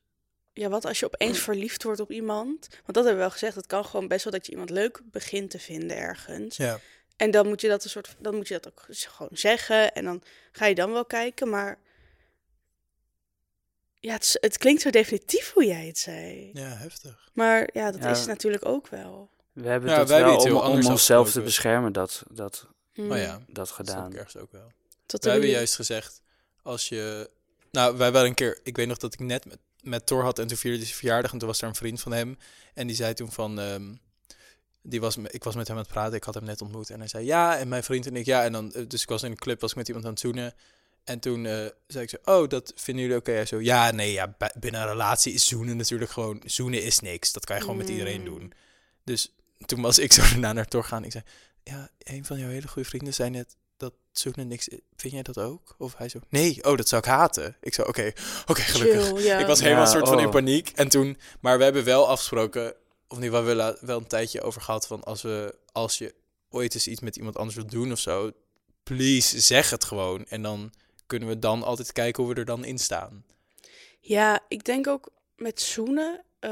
Speaker 2: ja, wat als je opeens verliefd wordt op iemand? Want dat hebben we wel gezegd, het kan gewoon best wel dat je iemand leuk begint te vinden ergens.
Speaker 1: Ja.
Speaker 2: En dan moet je dat een soort, dan moet je dat ook z- gewoon zeggen en dan ga je dan wel kijken, maar ja, het, is- het klinkt zo definitief hoe jij het zei.
Speaker 1: Ja, heftig.
Speaker 2: Maar ja, dat
Speaker 3: Ja.
Speaker 2: is het natuurlijk ook wel.
Speaker 3: We hebben
Speaker 1: Ja,
Speaker 3: dat
Speaker 1: wij
Speaker 3: wel
Speaker 1: hebben iets
Speaker 3: om,
Speaker 1: heel
Speaker 3: om
Speaker 1: anders
Speaker 3: onszelf te
Speaker 1: afgesproken.
Speaker 3: beschermen, dat, dat,
Speaker 2: Hmm.
Speaker 1: Oh ja,
Speaker 3: dat
Speaker 1: dat snap
Speaker 3: Mm. gedaan.
Speaker 1: ik ergens ook wel.
Speaker 2: Tot
Speaker 1: Wij hebben juist gezegd, als je... Nou, wij waren een keer... Ik weet nog dat ik net met, met Thor had en toen vierde hij zijn verjaardag. En toen was daar een vriend van hem. En die zei toen van... ehm, die was, me- ik was met hem aan het praten, ik had hem net ontmoet. En hij zei ja, en mijn vriend en ik ja. En dan, eh, dus ik was in een club, was ik met iemand aan het zoenen. En toen eh, zei ik zo, oh, dat vinden jullie oké? Hij zo, ja, nee, ja, bij- binnen een relatie is zoenen natuurlijk gewoon... Zoenen is niks, dat kan je gewoon met iedereen
Speaker 2: Mm.
Speaker 1: doen. Dus toen was ik zo daarna naar Thor gaan. Ik zei, ja, een van jouw hele goede vrienden zei net dat zoenen niks is. Vind jij dat ook? Of hij zo, nee, oh, dat zou ik haten. Ik zo, oké, oké, gelukkig.
Speaker 2: Chill, ja.
Speaker 1: Ik was helemaal
Speaker 3: Ja,
Speaker 1: soort van in
Speaker 3: oh.
Speaker 1: paniek. En toen, maar we hebben wel afgesproken, of niet, we hebben la- wel een tijdje over gehad van als, we, als je ooit eens iets met iemand anders wilt doen of zo, please zeg het gewoon. En dan kunnen we dan altijd kijken hoe we er dan in staan.
Speaker 2: Ja, ik denk ook met zoenen. eh,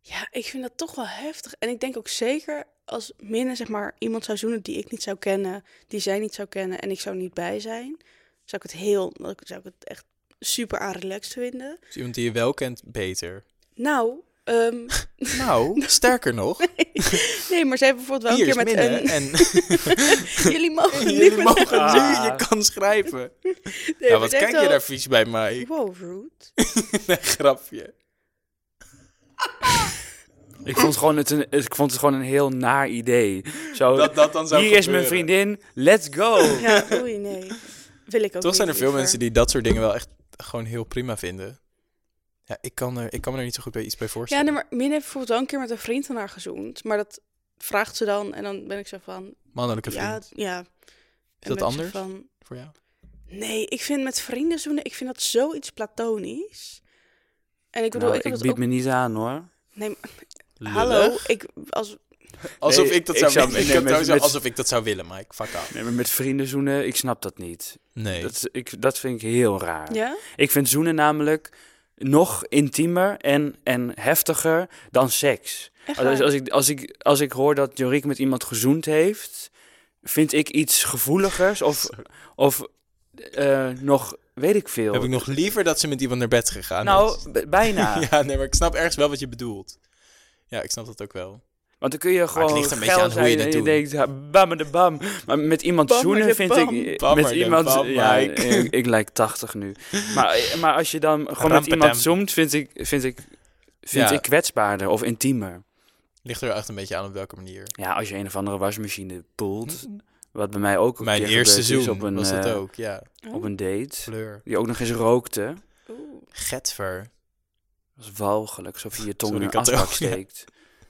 Speaker 2: ja, ik vind dat toch wel heftig. En ik denk ook zeker als Minne zeg maar, iemand zou zoenen die ik niet zou kennen, die zij niet zou kennen en ik zou niet bij zijn, zou ik het heel, zou ik het echt super aan relaxed vinden.
Speaker 1: Dus iemand die je wel kent, beter.
Speaker 2: Nou, Ehm,
Speaker 1: Nou, sterker nog,
Speaker 2: nee, maar zij hebben bijvoorbeeld wel
Speaker 1: hier
Speaker 2: een
Speaker 1: is
Speaker 2: keer met
Speaker 1: minnen
Speaker 2: een...
Speaker 1: en
Speaker 2: Jullie mogen niet
Speaker 1: jullie
Speaker 2: meer
Speaker 1: mogen
Speaker 2: zeggen.
Speaker 1: nu je kan schrijven.
Speaker 2: Nee,
Speaker 1: nou,
Speaker 2: maar
Speaker 1: wat
Speaker 2: zij
Speaker 1: kijk
Speaker 2: heeft
Speaker 1: je
Speaker 2: wel-
Speaker 1: daar vies bij mij?
Speaker 2: Wow, rude.
Speaker 1: Nee, grapje.
Speaker 3: Ik vond, het gewoon het een, ik vond het gewoon een heel naar idee. Zo,
Speaker 1: Dat dat dan
Speaker 3: Oh, hier
Speaker 1: zou
Speaker 3: is mijn
Speaker 1: gebeuren.
Speaker 3: vriendin, let's go. Nou,
Speaker 2: Ja, oei, nee. Wil ik ook
Speaker 1: Toch zijn er veel mensen die dat soort dingen wel echt gewoon heel prima vinden. Ja, ik kan, er, ik kan me er niet zo goed bij iets bij
Speaker 2: Ja,
Speaker 1: voorstellen.
Speaker 2: nee, maar Min heeft bijvoorbeeld wel een keer met een vriend van haar gezoend. Maar dat vraagt ze dan en dan ben ik zo van...
Speaker 1: Mannelijke
Speaker 2: ja,
Speaker 1: vriend.
Speaker 2: ja. En ben
Speaker 1: dat
Speaker 2: ik zo
Speaker 1: anders?
Speaker 2: Van,
Speaker 1: Voor jou?
Speaker 2: nee, ik vind met vrienden zoenen, ik vind dat zoiets platonisch. En ik bedoel,
Speaker 3: Nou,
Speaker 2: ik, heb
Speaker 3: ik
Speaker 2: dat
Speaker 3: bied
Speaker 2: ook...
Speaker 3: me niet aan hoor.
Speaker 2: Nee, maar- hallo, ik, als,
Speaker 1: Alsof
Speaker 3: Nee,
Speaker 1: ik dat
Speaker 3: ik
Speaker 1: zou
Speaker 3: zou-
Speaker 1: willen. Ik
Speaker 3: nee,
Speaker 1: heb
Speaker 3: met-
Speaker 1: trouwens
Speaker 3: met-
Speaker 1: Alsof ik dat zou willen, Mike. Fuck af.
Speaker 3: Nee, maar met vrienden zoenen, ik snap dat niet.
Speaker 1: Nee.
Speaker 3: Dat, is- ik, dat vind ik heel raar.
Speaker 2: ja?
Speaker 3: Ik vind zoenen namelijk nog intiemer en, en heftiger dan seks.
Speaker 2: Echt waar?
Speaker 3: Als, Oh, dus als, ik, als, ik, als ik hoor dat Jorik met iemand gezoend heeft, vind ik iets gevoeligers of, of eh, nog, weet ik veel.
Speaker 1: Heb ik nog liever dat ze met iemand naar bed gegaan
Speaker 3: nou,
Speaker 1: is.
Speaker 3: b- bijna.
Speaker 1: Ja, nee, maar ik snap ergens wel wat je bedoelt. Ja, ik snap dat ook wel.
Speaker 3: Want dan kun je gewoon
Speaker 1: ligt een
Speaker 3: geil
Speaker 1: beetje aan hoe je
Speaker 3: zijn
Speaker 1: het
Speaker 3: en
Speaker 1: doet.
Speaker 3: denkt, ja, bam de bam. Maar met iemand
Speaker 2: Bam, de
Speaker 3: zoenen vind
Speaker 2: bam.
Speaker 3: ik...
Speaker 1: Bam,
Speaker 3: met
Speaker 1: de
Speaker 3: iemand,
Speaker 1: bam,
Speaker 3: ja, ik,
Speaker 1: Mike.
Speaker 3: ik lijk 80 nu. Maar, maar als je dan gewoon met
Speaker 1: Rampetem.
Speaker 3: iemand zoent, vind ik, vind ik, vind
Speaker 1: Ja.
Speaker 3: ik kwetsbaarder of intiemer.
Speaker 1: Ligt er echt een beetje aan op welke manier.
Speaker 3: Ja, als je een of andere wasmachine poelt, wat bij mij ook een
Speaker 1: Hm. Mijn
Speaker 3: keer
Speaker 1: eerste
Speaker 3: gebeurd is
Speaker 1: zoen
Speaker 3: op een,
Speaker 1: was dat
Speaker 3: eh,
Speaker 1: ook, ja.
Speaker 3: op een date,
Speaker 1: Fleur.
Speaker 3: die ook nog eens rookte.
Speaker 2: Oh, Oeh.
Speaker 1: Getver.
Speaker 3: Dat is walgelijk, zo via je tong
Speaker 1: Sorry,
Speaker 3: in
Speaker 1: ik
Speaker 3: een
Speaker 1: had het
Speaker 3: asbak
Speaker 1: ook, ja.
Speaker 3: steekt.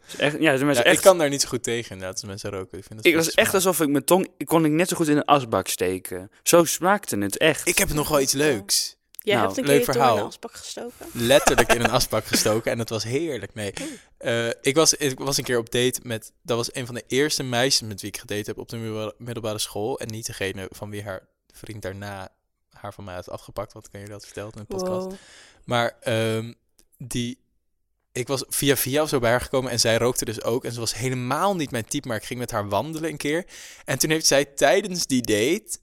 Speaker 3: Dat is echt, ja, dat is
Speaker 1: Ja,
Speaker 3: echt,
Speaker 1: ik kan daar niet zo goed tegen, inderdaad, als mensen roken. Ik, vind dat
Speaker 3: ik
Speaker 1: vies
Speaker 3: was echt
Speaker 1: smaak.
Speaker 3: alsof ik mijn tong ik kon ik net zo goed in een asbak steken. Zo smaakte het echt.
Speaker 1: Ik heb nog wel iets leuks.
Speaker 2: Jij
Speaker 3: Nou,
Speaker 2: hebt een
Speaker 1: leuk
Speaker 2: keer je tong in
Speaker 1: verhaal.
Speaker 2: een asbak gestoken?
Speaker 1: Letterlijk in een asbak gestoken en dat was heerlijk. Nee, Eh, ik, was, ik was een keer op date met... Dat was een van de eerste meisjes met wie ik gedate heb op de middelbare- middelbare school. En niet degene van wie haar vriend daarna haar van mij had afgepakt. Want ik weet je dat verteld in een podcast.
Speaker 2: Wow.
Speaker 1: Maar ehm, die. Ik was via via of zo bij haar gekomen en zij rookte dus ook. En ze was helemaal niet mijn type, maar ik ging met haar wandelen een keer. En toen heeft zij tijdens die date.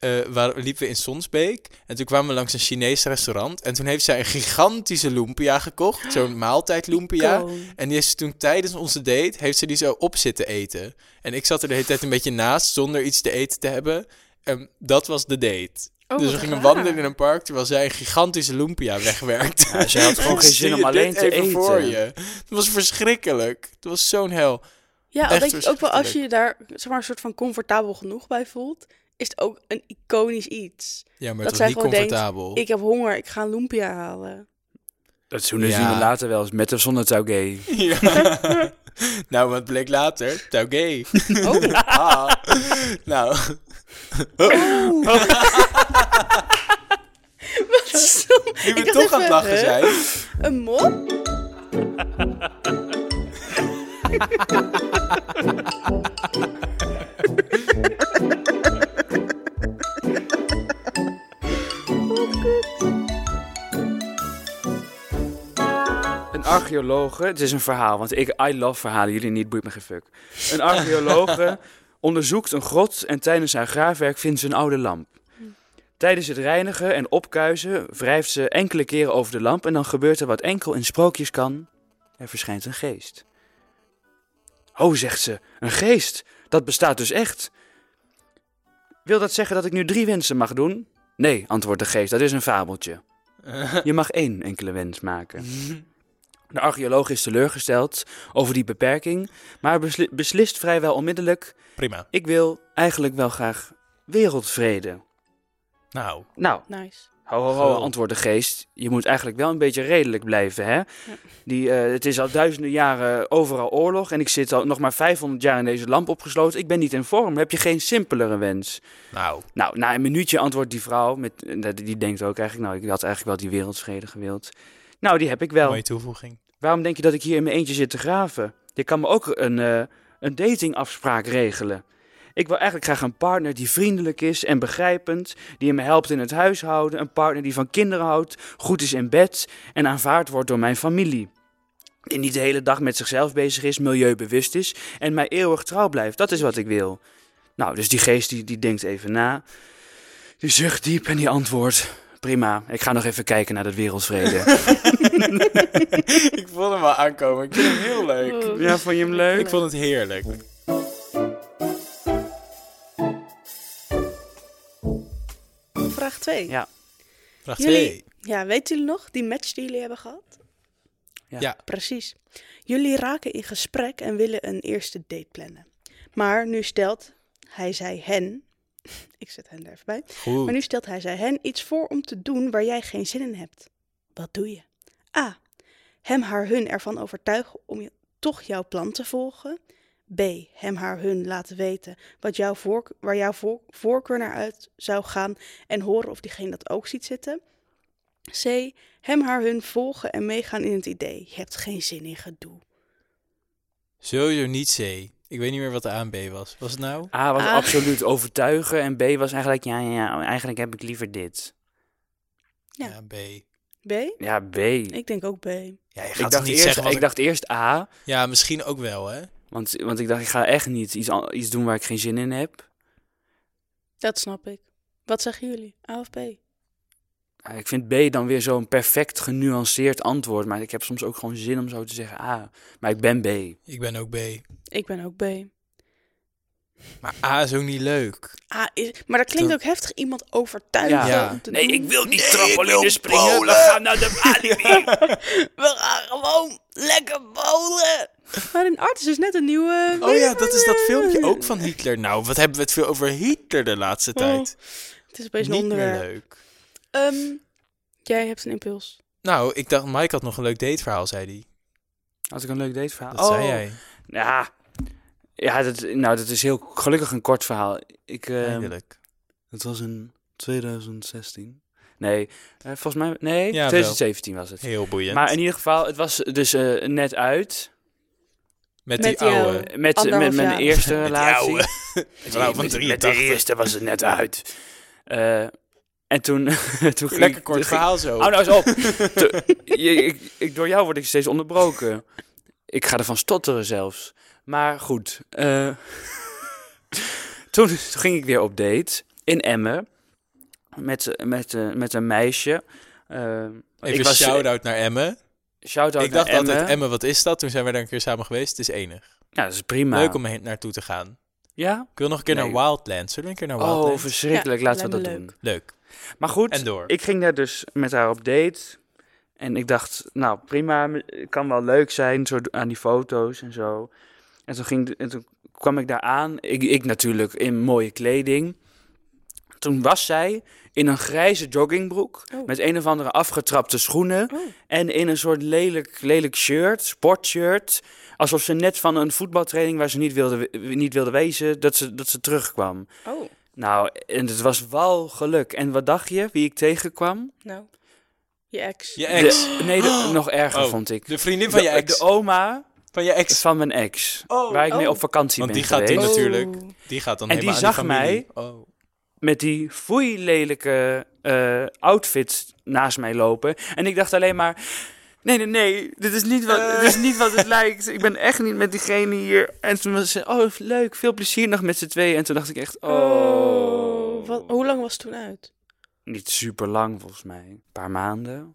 Speaker 1: eh, waar, liepen we in Sonsbeek. En toen kwamen we langs een Chinees restaurant. En toen heeft zij een gigantische lumpia gekocht. Zo'n maaltijd lumpia.
Speaker 2: Gewoon.
Speaker 1: En die is toen tijdens onze date, heeft ze die zo op zitten eten. En ik zat er de hele tijd een beetje naast, zonder iets te eten te hebben. En dat was de date.
Speaker 2: Oh,
Speaker 1: dus
Speaker 2: wat
Speaker 1: we gingen
Speaker 2: raar.
Speaker 1: wandelen in een park, terwijl zij een gigantische lumpia wegwerkte.
Speaker 3: Ja, ze had gewoon geen
Speaker 1: Zie
Speaker 3: zin
Speaker 1: je
Speaker 3: om alleen
Speaker 1: dit
Speaker 3: te
Speaker 1: even
Speaker 3: eten.
Speaker 1: voor je. Het was verschrikkelijk. Het was zo'n hel.
Speaker 2: Ja, al
Speaker 1: Echt
Speaker 2: denk ik ook wel als je
Speaker 1: verschrikkelijk.
Speaker 2: je daar zeg maar, een soort van comfortabel genoeg bij voelt, is het ook een iconisch iets.
Speaker 1: Ja, maar
Speaker 2: Dat
Speaker 1: het
Speaker 2: zij
Speaker 1: was niet
Speaker 2: gewoon denkt,
Speaker 1: comfortabel.
Speaker 2: Ik heb honger, ik ga een lumpia halen.
Speaker 3: Dat zoenen
Speaker 1: Ja.
Speaker 3: zien we later wel eens met of zonder touwgay.
Speaker 1: Ja. nou, wat bleek later? Touw gay.
Speaker 2: Oh,
Speaker 1: Ah. nou,
Speaker 2: wat stom.
Speaker 1: nu we
Speaker 2: dacht
Speaker 1: toch aan het
Speaker 2: even,
Speaker 1: lachen
Speaker 2: huh?
Speaker 1: zijn.
Speaker 2: Een mop?
Speaker 3: Een archeologe, het is een verhaal, want ik I love verhalen, jullie niet, boeit me geen fuck. Een archeologe onderzoekt een grot en tijdens haar graafwerk vindt ze een oude lamp. Tijdens het reinigen en opkuisen wrijft ze enkele keren over de lamp en dan gebeurt er wat enkel in sprookjes kan. Er verschijnt een geest. Oh, zegt ze, een geest, dat bestaat dus echt. Wil dat zeggen dat ik nu drie wensen mag doen? Nee, antwoordt de geest, dat is een fabeltje. Je mag één enkele wens maken. De archeoloog is teleurgesteld over die beperking, maar besli- beslist vrijwel onmiddellijk:
Speaker 1: Prima.
Speaker 3: ik wil eigenlijk wel graag wereldvrede.
Speaker 1: Nou,
Speaker 3: Nou,
Speaker 2: Nice.
Speaker 3: ho ho ho,
Speaker 1: Goh.
Speaker 3: antwoordt de geest. Je moet eigenlijk wel een beetje redelijk blijven, hè? Die, eh, het is al duizenden jaren overal oorlog en ik zit al nog maar 500 jaar in deze lamp opgesloten. Ik ben niet in vorm. Heb je geen simpelere wens?
Speaker 1: nou.
Speaker 3: Nou, na een minuutje antwoordt die vrouw, met, eh, die denkt ook eigenlijk: nou, ik had eigenlijk wel die wereldvrede gewild. Nou, die heb ik wel.
Speaker 1: Mooie toevoeging.
Speaker 3: Waarom denk je dat ik hier in mijn eentje zit te graven? Je kan me ook een, eh, een datingafspraak regelen. Ik wil eigenlijk graag een partner die vriendelijk is en begrijpend, die me helpt in het huishouden, een partner die van kinderen houdt, goed is in bed en aanvaard wordt door mijn familie. Die niet de hele dag met zichzelf bezig is, milieubewust is en mij eeuwig trouw blijft. Dat is wat ik wil. Nou, dus die geest die, die denkt even na. Die zucht diep en die antwoordt: prima. Ik ga nog even kijken naar dat wereldvrede.
Speaker 1: ik vond hem wel aankomen. Ik vind hem heel leuk.
Speaker 2: Oh.
Speaker 3: ja, vond je hem leuk?
Speaker 1: Ik vond het heerlijk.
Speaker 2: Vraag 2.
Speaker 3: Ja.
Speaker 1: Vraag
Speaker 2: Jullie-
Speaker 1: 2.
Speaker 2: Ja, weten jullie nog die match die jullie hebben gehad?
Speaker 3: Ja.
Speaker 1: Ja.
Speaker 2: Precies. Jullie raken in gesprek en willen een eerste date plannen. Maar nu stelt hij, zij, hen... Ik zet hen er even bij. Maar
Speaker 1: Goed.
Speaker 2: nu stelt hij, zij, hen iets voor om te doen waar jij geen zin in hebt. Wat doe je? A. Hem, haar, hun ervan overtuigen om je, toch jouw plan te volgen. B. Hem, haar, hun laten weten wat jouw voork- waar jouw voor- voorkeur naar uit zou gaan en horen of diegene dat ook ziet zitten. C. Hem, haar, hun volgen en meegaan in het idee. Je hebt geen zin in gedoe.
Speaker 1: Sowieso niet C. Ik weet niet meer wat de A en B was. Was het nou?
Speaker 3: A was
Speaker 2: A.
Speaker 3: absoluut overtuigen en B was eigenlijk, ja, ja, ja, eigenlijk heb ik liever dit.
Speaker 2: Ja.
Speaker 1: B.
Speaker 2: B?
Speaker 3: Ja, B.
Speaker 2: Ik denk ook B.
Speaker 1: Ja, je gaat
Speaker 3: Ik
Speaker 1: toch
Speaker 3: dacht,
Speaker 1: niet
Speaker 3: eerst,
Speaker 1: zeggen wat
Speaker 3: ik
Speaker 1: ik...
Speaker 3: dacht eerst A,
Speaker 1: Ja, misschien ook wel, hè?
Speaker 3: want, want ik dacht, ik ga echt niet iets, an- iets doen waar ik geen zin in heb.
Speaker 2: Dat snap ik. Wat zeggen jullie? A of B?
Speaker 3: Ah, Ik vind B dan weer zo'n perfect genuanceerd antwoord. Maar ik heb soms ook gewoon zin om zo te zeggen A. Maar ik ben B.
Speaker 1: Ik ben ook B.
Speaker 2: Ik ben ook B.
Speaker 1: Maar A is ook niet leuk.
Speaker 2: Ah, is, maar dat klinkt
Speaker 1: Dat-
Speaker 2: ook heftig. Iemand overtuigen.
Speaker 1: Ja.
Speaker 2: om te
Speaker 3: Nee,
Speaker 2: doen.
Speaker 3: ik wil niet
Speaker 1: Nee, ik wil
Speaker 3: trampoline springen.
Speaker 1: bowlen.
Speaker 3: We gaan naar de alibi.
Speaker 2: We gaan gewoon lekker bowlen. Maar in Artis is net een nieuwe...
Speaker 1: Oh ja, dat is dat filmpje ook van Hitler. Nou, wat hebben we het veel over Hitler de laatste tijd?
Speaker 2: Het is opeens Oh, een
Speaker 1: niet meer
Speaker 2: onderwerp.
Speaker 1: leuk.
Speaker 2: Ehm, jij hebt een impuls.
Speaker 1: Nou, ik dacht, Mike had nog een leuk dateverhaal, zei hij.
Speaker 3: Had ik een leuk dateverhaal?
Speaker 1: Dat
Speaker 2: Oh,
Speaker 1: zei jij.
Speaker 3: Ja, ja dat, nou, dat is heel gelukkig een kort verhaal. Ik, ehm,
Speaker 1: Eindelijk.
Speaker 3: het was in 2016. Nee, eh, volgens mij... Nee,
Speaker 1: Ja, wel.
Speaker 3: 2017 was het.
Speaker 1: Heel boeiend.
Speaker 3: Maar in ieder geval, het was dus eh, net uit.
Speaker 1: met,
Speaker 2: Met
Speaker 1: die
Speaker 2: jou.
Speaker 1: oude.
Speaker 3: Met, met
Speaker 2: Anderhalf
Speaker 3: mijn
Speaker 2: jaar.
Speaker 3: eerste
Speaker 1: Met die
Speaker 3: relatie.
Speaker 1: oude. Vrouw van
Speaker 3: Met- Met
Speaker 1: 83.
Speaker 3: de eerste was het net uit. Eh, en toen, toen ging
Speaker 1: Lekker kort
Speaker 3: ik- toen ging-
Speaker 1: verhaal zo.
Speaker 3: Hou nou eens op. Te- je- ik, ik, door jou word ik steeds onderbroken. Ik ga ervan stotteren zelfs. Maar goed. eh, toen ging ik weer op date in Emmen. Met, met, eh, met een meisje. Eh,
Speaker 1: Even
Speaker 3: ik
Speaker 1: een
Speaker 3: was-
Speaker 1: shout-out naar Emme.
Speaker 3: shout-out
Speaker 1: Ik dacht
Speaker 3: naar Emmen.
Speaker 1: altijd, Emme, wat is dat? Toen zijn we daar een keer samen geweest. Het is enig.
Speaker 3: Ja, dat is prima.
Speaker 1: Leuk om heen naartoe te gaan.
Speaker 3: Ja?
Speaker 1: Ik wil nog een keer
Speaker 3: Nou. Nee.
Speaker 1: naar Wildlands. Zullen we een keer naar
Speaker 3: Oh,
Speaker 1: Wildlands?
Speaker 3: verschrikkelijk.
Speaker 2: Ja,
Speaker 3: Laten we dat
Speaker 2: lijkt me
Speaker 3: doen.
Speaker 1: Leuk.
Speaker 3: Maar goed.
Speaker 1: En door.
Speaker 3: Ik ging daar dus met haar op date. En ik dacht, nou prima, het kan wel leuk zijn zo aan die foto's en zo. En toen, ging, de- en toen kwam ik daar aan. Ik, ik natuurlijk in mooie kleding. Toen was zij in een grijze joggingbroek.
Speaker 2: Oh.
Speaker 3: Met een of andere afgetrapte schoenen.
Speaker 2: Oh.
Speaker 3: En in een soort lelijk, lelijk shirt, sportshirt. Alsof ze net van een voetbaltraining waar ze niet wilde, we- niet wilde wezen, dat ze, dat ze terugkwam.
Speaker 2: Oh,
Speaker 3: Nou, en het was wel geluk. En wat dacht je, wie ik tegenkwam?
Speaker 2: nou. Je ex.
Speaker 1: Je ex.
Speaker 3: De- nee, de- nog erger
Speaker 1: Oh,
Speaker 3: vond ik.
Speaker 1: De vriendin van je
Speaker 3: De-
Speaker 1: ex.
Speaker 3: De oma
Speaker 1: van je ex.
Speaker 3: van mijn ex.
Speaker 1: Oh.
Speaker 3: waar ik mee
Speaker 2: oh.
Speaker 3: op vakantie
Speaker 1: Want
Speaker 3: ben
Speaker 1: die gaat die
Speaker 3: geweest. Oh.
Speaker 1: natuurlijk. Die gaat dan
Speaker 3: En
Speaker 1: helemaal
Speaker 3: die
Speaker 1: aan
Speaker 3: zag
Speaker 1: familie. Oh.
Speaker 3: Met die foeilelijke eh outfit naast mij lopen. En ik dacht alleen maar... Nee, nee, nee. Dit is niet wat, dit is niet wat het lijkt. Ik ben echt niet met diegene hier. En toen was ze... Oh, leuk. Veel plezier nog met z'n tweeën. En toen dacht ik echt...
Speaker 2: Oh.
Speaker 3: Oh.
Speaker 1: Oh,
Speaker 2: Wat, Oh. hoe lang was het toen uit?
Speaker 3: Niet super lang, volgens mij. Een paar maanden.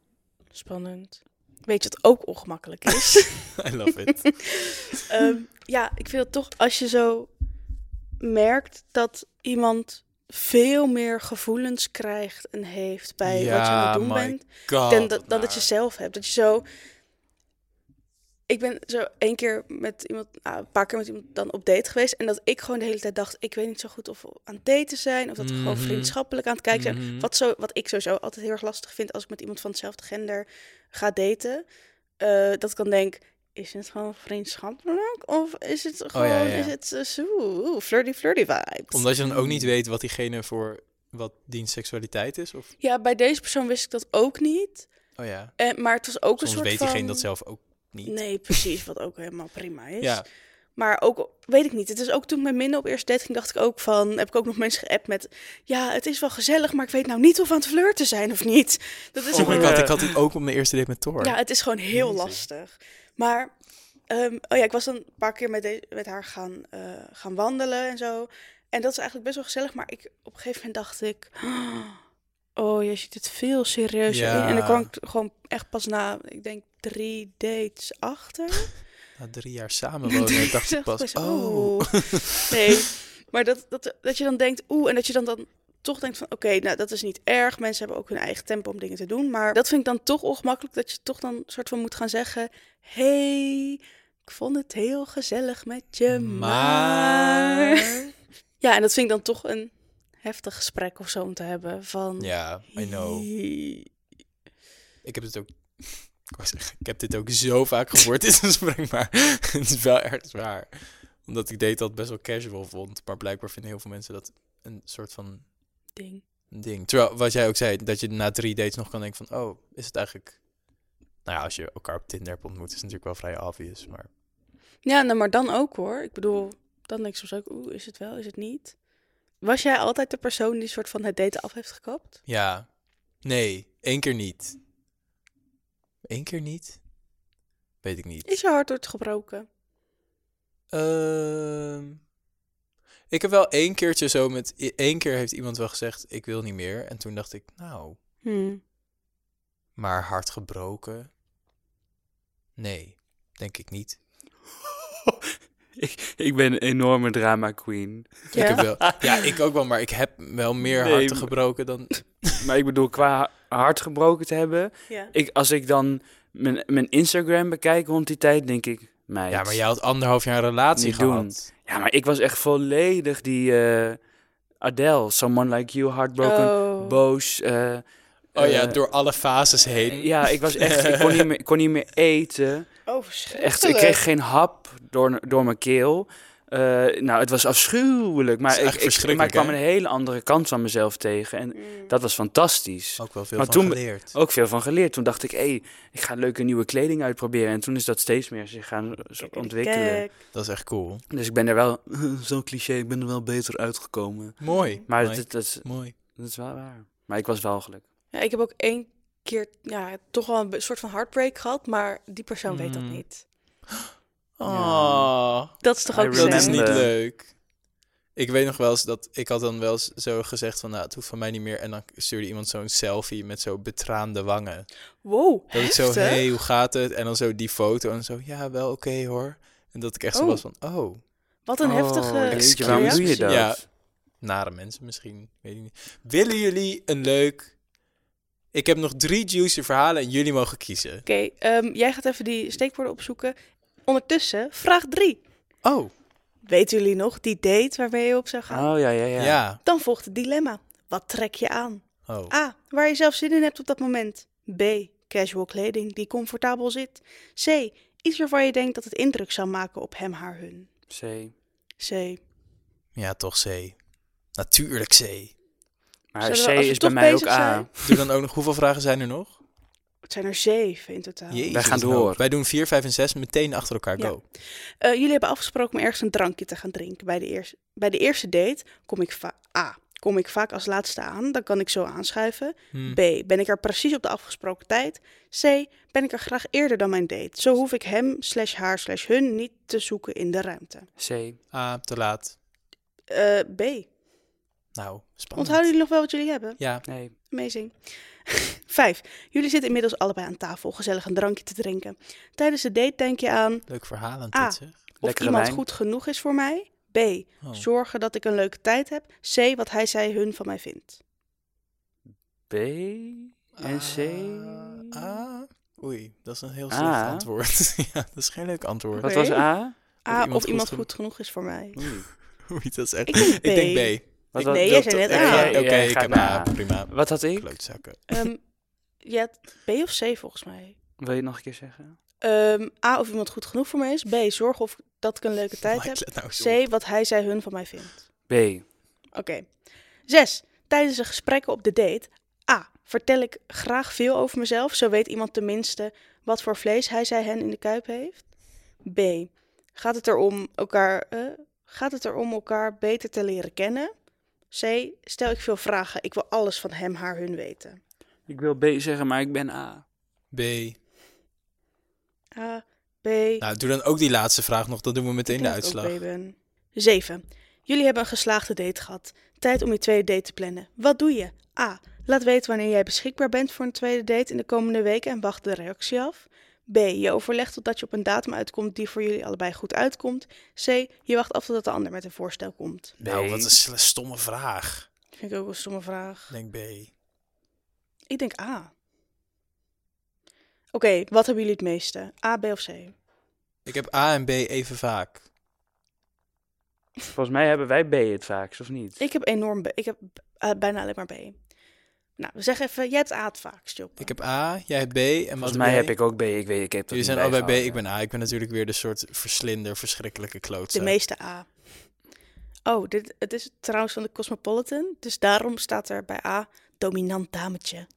Speaker 2: Spannend. Weet je wat ook ongemakkelijk is?
Speaker 1: I love it.
Speaker 2: Ehm, ja, ik vind het toch als je zo merkt dat iemand veel meer gevoelens krijgt en heeft bij wat je aan het
Speaker 1: Ja,
Speaker 2: doen
Speaker 1: my
Speaker 2: bent,
Speaker 1: God, Nou.
Speaker 2: dan, dat,
Speaker 1: wat
Speaker 2: dan dat
Speaker 1: naar.
Speaker 2: je zelf hebt. Dat je zo. Ik ben zo één keer met iemand, nou, een paar keer met iemand dan op date geweest. En dat ik gewoon de hele tijd dacht, ik weet niet zo goed of we aan het daten zijn. Of dat we gewoon
Speaker 1: Mhm.
Speaker 2: vriendschappelijk aan het kijken zijn.
Speaker 1: Mhm.
Speaker 2: Wat, zo, wat ik sowieso altijd heel erg lastig vind als ik met iemand van hetzelfde gender ga daten. eh, dat ik dan denk, is het gewoon vriendschappelijk? Of is het gewoon,
Speaker 1: Oh, ja, ja.
Speaker 2: is het eh, zo, oeh, flirty flirty vibes?
Speaker 1: Omdat je dan ook niet weet wat diegene voor wat diens seksualiteit is? Of?
Speaker 2: Ja, bij deze persoon wist ik dat ook niet.
Speaker 1: Oh ja.
Speaker 2: En, maar het was ook een
Speaker 1: Soms
Speaker 2: soort
Speaker 1: weet
Speaker 2: van...
Speaker 1: diegene dat zelf ook niet.
Speaker 2: Nee, precies, wat ook helemaal prima is.
Speaker 1: Ja,
Speaker 2: Maar ook, weet ik niet. Het is ook toen ik met Minne op eerste date ging, dacht ik ook van... Heb ik ook nog mensen geappt met... Ja, het is wel gezellig, maar ik weet nou niet of we aan het flirten zijn of niet. Dat is
Speaker 1: oh my
Speaker 2: gewoon-
Speaker 3: eh,
Speaker 1: god, ik had dit ook op mijn eerste date met Thor.
Speaker 2: Ja, het is gewoon heel
Speaker 1: Jezus.
Speaker 2: lastig. Maar, ehm, oh ja, ik was dan een paar keer met, de- met haar gaan, eh, gaan wandelen en zo. En dat is eigenlijk best wel gezellig. Maar ik, op een gegeven moment dacht ik... "Ah, oh, jij ziet het veel serieuzer
Speaker 1: Ja.
Speaker 2: in. En dan kwam ik gewoon echt pas na, ik denk, drie dates achter.
Speaker 1: Na drie jaar samenwonen dacht ik pas, oh.
Speaker 2: Nee, maar dat, dat, dat je dan denkt, oeh, en dat je dan, dan toch denkt van, oké, nou, dat is niet erg. Mensen hebben ook hun eigen tempo om dingen te doen. Maar dat vind ik dan toch ongemakkelijk, dat je toch dan soort van moet gaan zeggen, hey, ik vond het heel gezellig met je, maar...
Speaker 1: Maar...
Speaker 2: Ja, en dat vind ik dan toch een heftig gesprek of zo om te hebben. Van...
Speaker 1: Ja, I know.
Speaker 2: "Hie."
Speaker 1: Ik heb het ook... Ik, wou zeggen, ik heb dit ook zo vaak gehoord in een spring, maar het is wel erg zwaar. Omdat ik deed dat best wel casual vond, maar blijkbaar vinden heel veel mensen dat een soort van
Speaker 2: Ding.
Speaker 1: ding. Terwijl, wat jij ook zei, dat je na drie dates nog kan denken van, oh, is het eigenlijk... Nou ja, als je elkaar op Tinder hebt ontmoet, is het natuurlijk wel vrij obvious, maar...
Speaker 2: Ja, nou, maar dan ook hoor. Ik bedoel, dan denk ik soms ook, oeh, is het wel, is het niet? Was jij altijd de persoon die soort van het daten af heeft gekapt?
Speaker 1: Ja. Nee, één keer niet. Eén keer niet? Weet ik niet.
Speaker 2: Is je hart wordt gebroken?
Speaker 1: Ehm, ik heb wel één keertje zo met... i- één keer heeft iemand wel gezegd, ik wil niet meer. En toen dacht ik, nou,
Speaker 2: Hmm.
Speaker 1: maar hard gebroken? Nee, denk ik niet.
Speaker 3: ik, ik ben een enorme drama queen.
Speaker 2: Ja.
Speaker 1: Ik heb wel, ja, ik ook wel, maar ik heb wel meer
Speaker 3: Nee,
Speaker 1: harten
Speaker 3: maar-
Speaker 1: gebroken dan...
Speaker 3: Maar ik bedoel, qua ha- hart gebroken te hebben.
Speaker 2: Ja.
Speaker 3: Ik, als ik dan mijn, mijn Instagram bekijk rond die tijd, denk ik... Meid,
Speaker 1: Ja, maar jij had anderhalf jaar een relatie
Speaker 3: Niet
Speaker 1: gehad.
Speaker 3: doen. Ja, maar ik was echt volledig die eh, Adele. Someone Like You, Heartbroken,
Speaker 2: Oh.
Speaker 3: boos. eh,
Speaker 1: Oh ja,
Speaker 3: eh,
Speaker 1: door alle fases heen.
Speaker 3: Ja, ik was echt... Ik kon niet meer, ik kon niet meer eten.
Speaker 2: Oh,
Speaker 3: Echt, ik kreeg geen hap door, door mijn keel. Eh, nou, het was afschuwelijk. Maar,
Speaker 1: Dat is
Speaker 3: ik,
Speaker 1: echt
Speaker 3: ik, maar ik
Speaker 1: verschrikkelijk,
Speaker 3: kwam
Speaker 1: hè?
Speaker 3: een hele andere kant van mezelf tegen. En
Speaker 2: Hmm.
Speaker 3: dat was fantastisch.
Speaker 1: Ook wel veel
Speaker 3: Maar
Speaker 1: van
Speaker 3: toen-
Speaker 1: geleerd.
Speaker 3: Ook veel van geleerd. Toen dacht ik, hé, hey, ik ga leuke nieuwe kleding uitproberen. En toen is dat steeds meer zich gaan eh, zo ontwikkelen.
Speaker 1: Dat is echt cool.
Speaker 3: Dus ik ben er wel, zo'n cliché, ik ben er wel beter uitgekomen.
Speaker 1: Mooi.
Speaker 3: Maar
Speaker 1: mooi.
Speaker 3: dat, dat, is-
Speaker 1: mooi.
Speaker 3: dat is wel waar. Maar ik was wel gelukkig.
Speaker 2: Ja, ik heb ook één keer ja, toch wel een be- soort van heartbreak gehad, maar die persoon weet dat
Speaker 3: Hmm.
Speaker 1: Mm.
Speaker 2: niet.
Speaker 1: Ah,
Speaker 2: Dat is toch
Speaker 3: I
Speaker 2: ook
Speaker 1: dat is
Speaker 2: zen?
Speaker 3: remember.
Speaker 1: niet leuk. Ik weet nog wel eens dat ik had dan wel eens zo gezegd van, nou, het hoeft van mij niet meer. En dan stuurde iemand zo'n selfie met zo betraande wangen.
Speaker 2: Wow,
Speaker 1: Dat ik zo,
Speaker 2: heftig.
Speaker 1: hé, hey, hoe gaat het? En dan zo die foto en zo, ja, wel oké hoor. En dat ik echt zo
Speaker 2: Oh.
Speaker 1: was van, oh,
Speaker 2: Wat een
Speaker 3: Oh,
Speaker 2: heftige...
Speaker 3: jeetje,
Speaker 1: excuse.
Speaker 3: waarom doe je dat?
Speaker 1: Ja. nare mensen misschien. Weet ik niet. Willen jullie een leuk... Ik heb nog drie juicy verhalen en jullie mogen kiezen.
Speaker 2: Oké, ehm, jij gaat even die steekwoorden opzoeken. Ondertussen, vraag 3.
Speaker 1: Oh,
Speaker 2: Weten jullie nog die date waarmee je op zou gaan?
Speaker 3: Oh, ja, ja,
Speaker 1: ja.
Speaker 3: ja.
Speaker 2: Dan volgt het dilemma. Wat trek je aan?
Speaker 1: Oh.
Speaker 2: A. Waar je zelf zin in hebt op dat moment. B. Casual kleding die comfortabel zit. C. Iets waarvan je denkt dat het indruk zou maken op hem, haar, hun.
Speaker 3: C.
Speaker 2: C.
Speaker 1: Ja, toch C. Natuurlijk C.
Speaker 3: Maar
Speaker 2: Zullen
Speaker 3: C
Speaker 2: we, als we
Speaker 3: is bij
Speaker 2: toch
Speaker 3: mij ook
Speaker 2: bezig
Speaker 3: A.
Speaker 2: zijn?
Speaker 1: Doe Dus dan ook nog, hoeveel vragen zijn er nog?
Speaker 2: Het zijn er zeven in totaal.
Speaker 1: Jezus,
Speaker 3: Wij gaan
Speaker 1: dat is een hoop.
Speaker 3: door.
Speaker 1: Wij doen 4, 5 en 6 meteen achter elkaar.
Speaker 2: Ja.
Speaker 1: Go.
Speaker 2: Eh, jullie hebben afgesproken om ergens een drankje te gaan drinken. Bij de, eerste, bij de eerste date kom ik, va- A, kom ik vaak als laatste aan. Dan kan ik zo aanschuiven.
Speaker 1: Hmm.
Speaker 2: B. Ben ik er precies op de afgesproken tijd? C. Ben ik er graag eerder dan mijn date? Zo hoef ik hem, slash haar, slash hun niet te zoeken in de ruimte.
Speaker 3: C.
Speaker 1: Ah, te laat.
Speaker 2: Eh, B.
Speaker 1: Nou, spannend.
Speaker 2: Onthouden jullie nog wel wat jullie hebben?
Speaker 1: Ja,
Speaker 3: Nee.
Speaker 2: Amazing. Vijf. Jullie zitten inmiddels allebei aan tafel gezellig een drankje te drinken. Tijdens de date denk je aan
Speaker 1: leuk verhaal aan
Speaker 2: Ah.
Speaker 1: dit, zeg.
Speaker 2: of
Speaker 3: Lekkere
Speaker 2: iemand
Speaker 3: wijn.
Speaker 2: goed genoeg is voor mij. B.
Speaker 1: Oh.
Speaker 2: Zorgen dat ik een leuke tijd heb. C. Wat hij, zij, hun van mij vindt.
Speaker 3: B en C.
Speaker 1: Ah, ah. Oei, dat is een heel
Speaker 3: Ah.
Speaker 1: slecht antwoord. ja, dat is geen leuk antwoord.
Speaker 3: Wat was A?
Speaker 2: A.
Speaker 1: iemand
Speaker 2: of iemand
Speaker 1: goed
Speaker 2: goed, genoeg is voor mij.
Speaker 1: Oei, dat is echt...
Speaker 2: Ik denk B.
Speaker 1: denk B.
Speaker 3: Wat,
Speaker 1: Ik
Speaker 3: wat,
Speaker 2: Nee,
Speaker 1: wil
Speaker 2: jij zei
Speaker 1: toch-
Speaker 2: net
Speaker 1: Ja,
Speaker 2: A.
Speaker 1: Oké,
Speaker 3: Jij
Speaker 1: ik
Speaker 3: gaat
Speaker 1: heb A.
Speaker 3: naar A.
Speaker 1: Prima.
Speaker 3: wat had ik?
Speaker 1: Klootzakken.
Speaker 2: Ehm, je had B of C volgens mij.
Speaker 3: Wil je het nog een keer zeggen?
Speaker 2: Ehm, A. Of iemand goed genoeg voor mij is. B. Zorgen of dat ik een leuke tijd
Speaker 1: Maar ik
Speaker 2: heb.
Speaker 1: let nou zo op.
Speaker 2: C. Wat hij, zij, hun van mij vindt.
Speaker 3: B.
Speaker 2: Oké. Zes. Tijdens de gesprekken op de date. A. Vertel ik graag veel over mezelf. Zo weet iemand tenminste wat voor vlees hij zij hen in de kuip heeft. B. Gaat het erom elkaar, eh, gaat het erom elkaar beter te leren kennen? C. Stel ik veel vragen. Ik wil alles van hem, haar, hun weten.
Speaker 3: Ik wil B zeggen, maar ik ben A.
Speaker 1: B.
Speaker 2: A. B.
Speaker 1: Nou, doe dan ook die laatste vraag nog. Dan doen we meteen
Speaker 2: Ik
Speaker 1: de
Speaker 2: denk dat ik ook
Speaker 1: uitslag.
Speaker 2: B ben. 7. Jullie hebben een geslaagde date gehad. Tijd om je tweede date te plannen. Wat doe je? A. Laat weten wanneer jij beschikbaar bent voor een tweede date in de komende weken en wacht de reactie af. B. Je overlegt totdat je op een datum uitkomt die voor jullie allebei goed uitkomt. C. Je wacht af totdat de ander met een voorstel komt.
Speaker 1: Nou, wat een sle- stomme vraag.
Speaker 2: Vind ik ook wel een stomme vraag.
Speaker 1: Ik Denk B.
Speaker 2: Ik denk A. Oké, wat hebben jullie het meeste? A, B of C?
Speaker 1: Ik heb A en B even vaak.
Speaker 3: Volgens mij hebben wij B het vaakst, of niet?
Speaker 2: Ik heb enorm B. Ik heb eh, bijna alleen maar B. Nou, we zeggen even, jij hebt A het vaakst, Job.
Speaker 1: Ik heb A, jij hebt B en wat
Speaker 3: Volgens mij
Speaker 1: jij?
Speaker 3: heb ik ook B. Ik weet, ik heb dat
Speaker 1: Jullie
Speaker 3: niet
Speaker 1: zijn allebei B,
Speaker 3: bijgehouden.
Speaker 1: ik ben A. Ik ben natuurlijk weer de soort verslinder, verschrikkelijke
Speaker 2: De
Speaker 1: klootzak.
Speaker 2: meeste A. Oh, dit, het is trouwens van de Cosmopolitan. Dus daarom staat er bij A dominant dametje.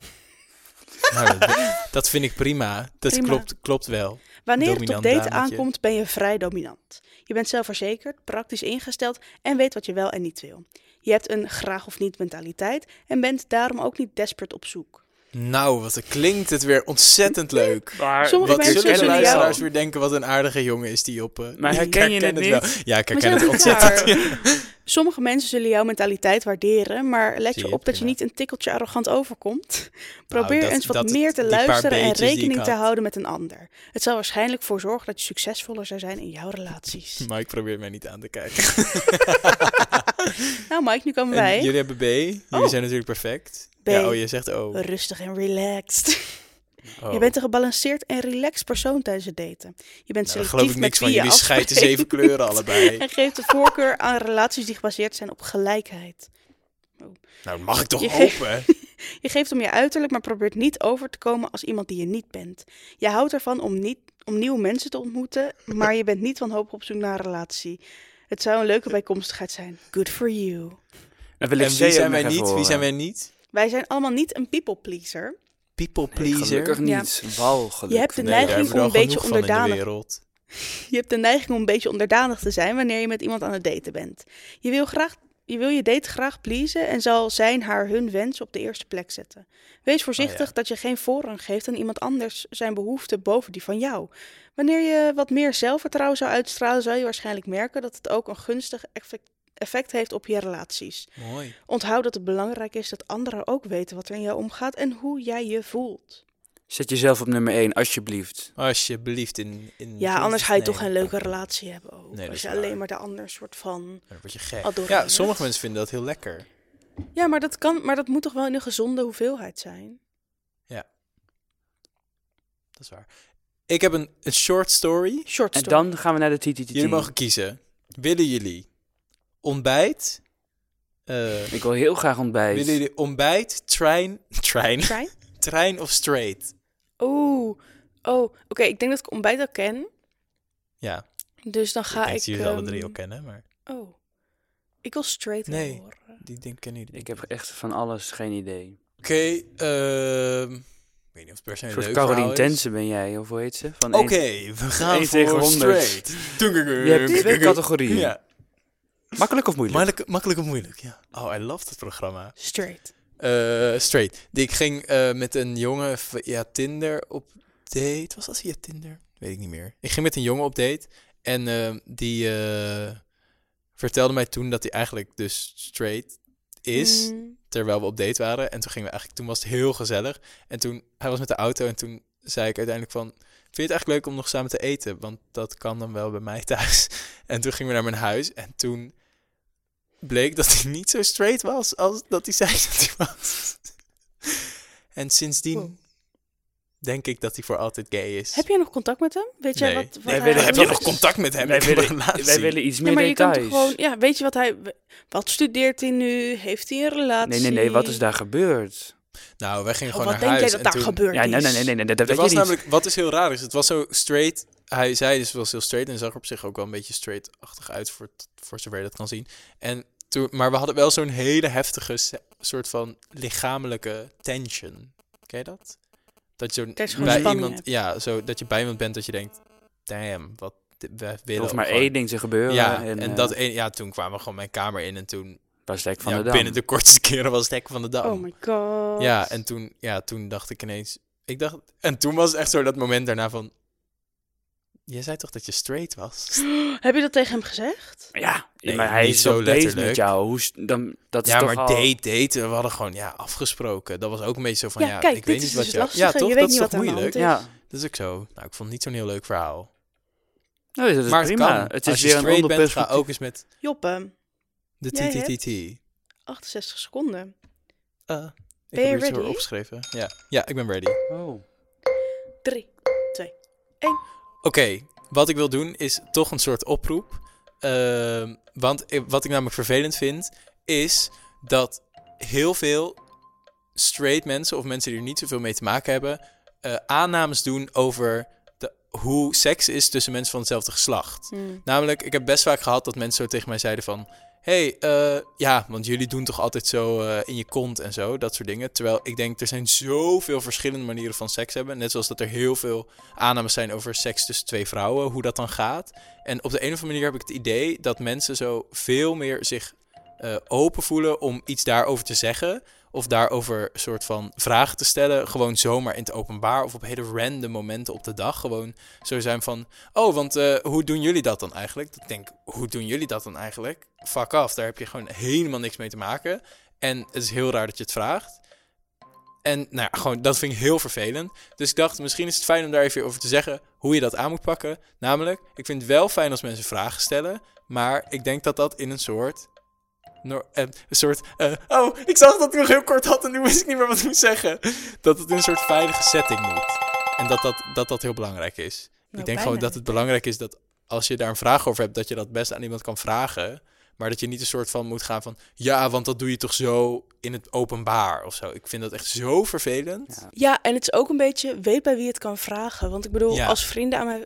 Speaker 1: Nou, dat- dat vind ik prima. Dat
Speaker 2: Prima.
Speaker 1: Klopt, klopt wel.
Speaker 2: Wanneer
Speaker 1: Dominant
Speaker 2: het op date
Speaker 1: dametje.
Speaker 2: aankomt, ben je vrij dominant. Je bent zelfverzekerd, praktisch ingesteld en weet wat je wel en niet wil. Je hebt een graag of niet mentaliteit en bent daarom ook niet desperate op zoek.
Speaker 1: Nou, wat klinkt het weer ontzettend leuk.
Speaker 3: Maar
Speaker 2: Sommige
Speaker 1: Wat
Speaker 2: mensen
Speaker 1: zullen de
Speaker 2: zullen jou-
Speaker 1: luisteraars weer denken wat een aardige jongen is die op... eh,
Speaker 3: Maar
Speaker 1: ik
Speaker 3: herken je het niet?
Speaker 1: wel. Ja, ik
Speaker 2: Maar
Speaker 1: herken het
Speaker 2: zijn we
Speaker 1: ontzettend.
Speaker 2: elkaar? Sommige mensen zullen jouw mentaliteit waarderen, maar let
Speaker 1: Zie
Speaker 2: je
Speaker 1: je,
Speaker 2: op dat je
Speaker 1: prima. Nou,
Speaker 2: niet een tikkeltje arrogant overkomt. Probeer
Speaker 1: dat-
Speaker 2: eens wat
Speaker 1: dat-
Speaker 2: meer te
Speaker 1: die paar
Speaker 2: luisteren en
Speaker 1: beetjes die ik
Speaker 2: rekening te
Speaker 1: had.
Speaker 2: houden met een ander. Het zal waarschijnlijk voor zorgen dat je succesvoller zou zijn in jouw relaties.
Speaker 1: Maar ik probeer mij niet aan te kijken.
Speaker 2: Nou Mike, nu komen
Speaker 1: En
Speaker 2: wij.
Speaker 1: jullie hebben B. Jullie
Speaker 2: Oh.
Speaker 1: zijn natuurlijk perfect.
Speaker 2: B.
Speaker 1: Ja, oh, je zegt O.
Speaker 2: Rustig en relaxed.
Speaker 1: Oh.
Speaker 2: Je bent een gebalanceerd en relaxed persoon tijdens het daten. Je bent
Speaker 1: Nou, daar
Speaker 2: selectief
Speaker 1: geloof ik
Speaker 2: met
Speaker 1: niks van.
Speaker 2: wie je
Speaker 1: Jullie scheiden
Speaker 2: afspreekt.
Speaker 1: zeven kleuren allebei.
Speaker 2: En geeft de voorkeur aan relaties die gebaseerd zijn op gelijkheid.
Speaker 1: Nou, mag ik toch
Speaker 2: Je-
Speaker 1: hopen?
Speaker 2: Je geeft om je uiterlijk, maar probeert niet over te komen als iemand die je niet bent. Je houdt ervan om, niet, om nieuwe mensen te ontmoeten, maar je bent niet wanhopig op zoek naar een relatie. Het zou een leuke bijkomstigheid zijn. Good for you.
Speaker 3: Dan wil ik
Speaker 1: En
Speaker 3: C
Speaker 1: wie
Speaker 3: ook
Speaker 1: zijn wij
Speaker 3: nog even
Speaker 1: niet? Wie
Speaker 3: horen.
Speaker 1: zijn wij niet?
Speaker 2: Wij zijn allemaal niet een people pleaser.
Speaker 1: People
Speaker 3: Nee,
Speaker 1: pleaser.
Speaker 3: Gelukkig niet. Wal, gelukkig.
Speaker 2: Je hebt de
Speaker 3: nee.
Speaker 1: daar hebben
Speaker 2: neiging
Speaker 1: we er
Speaker 2: om een
Speaker 1: al
Speaker 2: beetje
Speaker 1: genoeg van in de
Speaker 2: onderdanig-
Speaker 1: wereld.
Speaker 2: Je hebt de neiging om een beetje onderdanig te zijn wanneer je met iemand aan het daten bent. Je wil, graag, je, wil je date graag pleasen en zal zijn haar hun wens op de eerste plek zetten.
Speaker 1: Oh
Speaker 2: Wees voorzichtig dat je geen voorrang geeft aan iemand anders zijn behoeften boven die van jou. Wanneer je wat meer zelfvertrouwen zou uitstralen, zou je waarschijnlijk merken dat het ook een gunstig effect, effect heeft op je relaties.
Speaker 1: Mooi.
Speaker 2: Onthoud dat het belangrijk is dat anderen ook weten wat er in jou omgaat en hoe jij je voelt.
Speaker 3: Zet jezelf op nummer 1, alsjeblieft.
Speaker 1: Alsjeblieft. In, in
Speaker 2: Ja, anders ga je
Speaker 1: Nee.
Speaker 2: toch geen leuke relatie hebben ook.
Speaker 1: Nee, dat
Speaker 2: als
Speaker 1: is
Speaker 2: je
Speaker 1: waar.
Speaker 2: alleen maar de ander soort van...
Speaker 1: Dan word je gek.
Speaker 2: Adoreer.
Speaker 1: Ja, sommige mensen vinden dat heel lekker.
Speaker 2: Ja, maar dat, kan, maar dat moet toch wel in een gezonde hoeveelheid zijn?
Speaker 1: Dat is waar. Ik heb een, een short story.
Speaker 2: Short
Speaker 3: En
Speaker 2: story.
Speaker 3: dan gaan we naar de TTT.
Speaker 1: Jullie mogen kiezen. Willen jullie ontbijt? eh,
Speaker 3: Ik wil heel graag ontbijt.
Speaker 1: willen jullie ontbijt, trein, trein,
Speaker 2: Trein?
Speaker 1: trein of straight?
Speaker 2: Oeh. Oh, oké. ik denk dat ik ontbijt al ken.
Speaker 1: Ja,
Speaker 2: Dus dan
Speaker 1: ik
Speaker 2: ga
Speaker 1: denk
Speaker 2: ik...
Speaker 1: dat jullie ze alle drie
Speaker 2: ehm,
Speaker 1: al kennen, maar
Speaker 2: Oh. Ik wil straight
Speaker 1: Nee.
Speaker 2: horen.
Speaker 1: die denk ik kennen jullie.
Speaker 3: Ik heb echt van alles geen idee.
Speaker 1: Oké, ehm, ik weet niet of het per se
Speaker 3: Een
Speaker 1: een
Speaker 3: soort
Speaker 1: leuk
Speaker 3: Caroline
Speaker 1: verhaal is.
Speaker 3: Tense ben jij, of hoe heet ze? Van
Speaker 1: Oké,
Speaker 3: één-
Speaker 1: we gaan
Speaker 3: één tegen
Speaker 1: voor
Speaker 3: 100.
Speaker 1: straight. Dunk, dunk,
Speaker 3: Je hebt
Speaker 1: dunk,
Speaker 3: twee
Speaker 1: dunk.
Speaker 3: categorieën.
Speaker 1: Ja,
Speaker 3: Makkelijk of moeilijk?
Speaker 1: makkelijk, makkelijk of moeilijk, ja. Oh, I love dat programma.
Speaker 2: Straight.
Speaker 1: Eh, straight. Die- Ik ging eh, met een jongen via Tinder op date. Was dat via Tinder? Weet ik niet meer. Ik ging met een jongen op date. En ehm, die eh, vertelde mij toen dat hij eigenlijk dus straight is.
Speaker 2: Mm,
Speaker 1: Terwijl we op date waren. En toen gingen we eigenlijk... Toen was het heel gezellig. En toen... Hij was met de auto. En toen zei ik uiteindelijk van... Vind je het eigenlijk leuk om nog samen te eten? Want dat kan dan wel bij mij thuis. En toen gingen we naar mijn huis. En toen bleek dat hij niet zo straight was als dat hij zei dat hij was. En sindsdien
Speaker 2: Wow.
Speaker 1: denk ik dat hij voor altijd gay is.
Speaker 2: Heb jij nog contact met hem? Weet jij
Speaker 1: Nee.
Speaker 2: wat, wat
Speaker 3: Nee,
Speaker 2: hij
Speaker 3: weet ik
Speaker 2: doet?
Speaker 1: Heb je nog contact met hem?
Speaker 3: Wij
Speaker 1: Ik heb
Speaker 3: willen-
Speaker 1: een relatie.
Speaker 3: Wij willen iets
Speaker 2: Ja,
Speaker 3: meer
Speaker 2: maar je kunt
Speaker 3: details.
Speaker 2: toch gewoon... Ja, weet je wat hij... Wat studeert hij nu? Heeft hij een relatie?
Speaker 3: Nee, nee, nee, wat is daar gebeurd?
Speaker 1: Nou, wij gingen
Speaker 2: Of
Speaker 1: gewoon
Speaker 2: wat
Speaker 1: naar
Speaker 2: denk jij
Speaker 1: huis.
Speaker 2: dat
Speaker 1: en
Speaker 2: daar
Speaker 1: toen-
Speaker 2: gebeurt
Speaker 3: Ja, nee,
Speaker 2: is?
Speaker 3: nee, nee, nee, nee, dat
Speaker 1: Er
Speaker 3: weet
Speaker 1: was
Speaker 3: je niet.
Speaker 1: namelijk, wat is heel raar is, het was zo straight. Hij zei dus, het was heel straight en zag er op zich ook wel een beetje straight-achtig uit voor, t- voor zover je dat kan zien. En toen, maar we hadden wel zo'n hele heftige se- soort van lichamelijke tension. Ken je dat? Dat je
Speaker 2: Dat je
Speaker 1: zo
Speaker 2: gewoon
Speaker 1: bij
Speaker 2: spanning
Speaker 1: iemand, ja, zo dat je bij iemand bent dat je denkt, damn, wat we willen.
Speaker 3: Er hoeft
Speaker 1: ook
Speaker 3: maar
Speaker 1: gewoon-
Speaker 3: één ding te gebeuren.
Speaker 1: Ja, en,
Speaker 3: eh,
Speaker 1: dat een, ja, toen kwamen we gewoon mijn kamer in en toen
Speaker 3: was Dijk van
Speaker 1: ja,
Speaker 3: de Dam.
Speaker 1: binnen de kortste keren was het hek van de dag.
Speaker 2: Oh my god.
Speaker 1: Ja, en toen, ja, toen dacht ik ineens. Ik dacht, en toen was het echt zo dat moment daarna van. Je zei toch dat je straight was?
Speaker 2: Heb je dat tegen hem gezegd?
Speaker 3: Ja,
Speaker 1: Nee,
Speaker 3: maar hij
Speaker 1: niet
Speaker 3: is
Speaker 1: zo
Speaker 3: zo bezig met
Speaker 1: letterlijk.
Speaker 3: jou. Hoe, is- dan, dat is
Speaker 1: ja,
Speaker 3: toch
Speaker 1: maar
Speaker 3: al...
Speaker 1: date, date, we hadden gewoon ja, afgesproken. Dat was ook een beetje zo van,
Speaker 2: Ja,
Speaker 1: ja,
Speaker 2: kijk,
Speaker 1: ik
Speaker 2: dit
Speaker 1: weet
Speaker 2: is
Speaker 1: niet wat
Speaker 2: dus
Speaker 1: je...
Speaker 2: lastig,
Speaker 1: ja,
Speaker 2: hè?
Speaker 1: toch?
Speaker 2: Je weet
Speaker 1: dat
Speaker 2: niet
Speaker 1: is
Speaker 2: wat
Speaker 1: toch
Speaker 2: er aan de
Speaker 1: moeilijk?
Speaker 2: hand
Speaker 3: Ja,
Speaker 1: Dat is ook zo. Nou, ik vond het niet zo'n heel leuk verhaal.
Speaker 3: nou, dat is
Speaker 1: maar
Speaker 3: prima.
Speaker 1: het kan.
Speaker 3: Dus Het is
Speaker 1: Als je
Speaker 3: weer een
Speaker 1: straight
Speaker 3: ander
Speaker 1: bent, ga
Speaker 3: perspectief.
Speaker 1: ook eens met
Speaker 2: Joppe,
Speaker 1: de
Speaker 2: Jij hebt-
Speaker 1: TTTT.
Speaker 2: 68 seconden.
Speaker 1: Eh, ik
Speaker 2: Ben je
Speaker 1: Eh, heb het weer
Speaker 2: ready?
Speaker 1: opgeschreven. Ja. ja, ik ben ready.
Speaker 3: Oh.
Speaker 2: 3.
Speaker 1: Oké, wat ik wil doen is toch een soort oproep. Ehm, want i- wat ik namelijk vervelend vind, is dat heel veel straight mensen of mensen die er niet zoveel mee te maken hebben, eh, aannames doen over de, hoe seks is tussen mensen van hetzelfde geslacht. Namelijk, ik heb best vaak gehad dat mensen zo tegen mij zeiden van... hey, eh, ja, want jullie doen toch altijd zo eh, in je kont en zo, dat soort dingen. Terwijl ik denk, er zijn zoveel verschillende manieren van seks hebben. Net zoals dat er heel veel aannames zijn over seks tussen twee vrouwen, hoe dat dan gaat. En op de een of andere manier heb ik het idee dat mensen zo veel meer zich eh, open voelen om iets daarover te zeggen... Of daarover een soort van vragen te stellen. Gewoon zomaar in het openbaar. Of op hele random momenten op de dag. Gewoon zo zijn van. Oh, want eh, hoe doen jullie dat dan eigenlijk? Ik denk, hoe doen jullie dat dan eigenlijk? Fuck af, daar heb je gewoon helemaal niks mee te maken. En het is heel raar dat je het vraagt. En nou ja, gewoon, dat vind ik heel vervelend. Dus ik dacht, misschien is het fijn om daar even over te zeggen hoe je dat aan moet pakken. Namelijk, ik vind het wel fijn als mensen vragen stellen. Maar ik denk dat dat in een soort. no- eh, een soort. eh, oh, ik zag dat ik nog heel kort had en nu wist ik niet meer wat ik moest zeggen. Dat het in een soort veilige setting moet. En dat dat, dat, dat heel belangrijk is Nou, ik denk gewoon dat het belangrijk is dat als je daar een vraag over hebt, dat je dat best aan iemand kan vragen. Maar dat je niet een soort van moet gaan van ja, want dat doe je toch zo in het openbaar of zo. Ik vind dat echt zo vervelend.
Speaker 3: Ja.
Speaker 2: Ja, en het is ook een beetje, weet bij wie het kan vragen. Want ik bedoel,
Speaker 1: Ja.
Speaker 2: als vrienden aan mij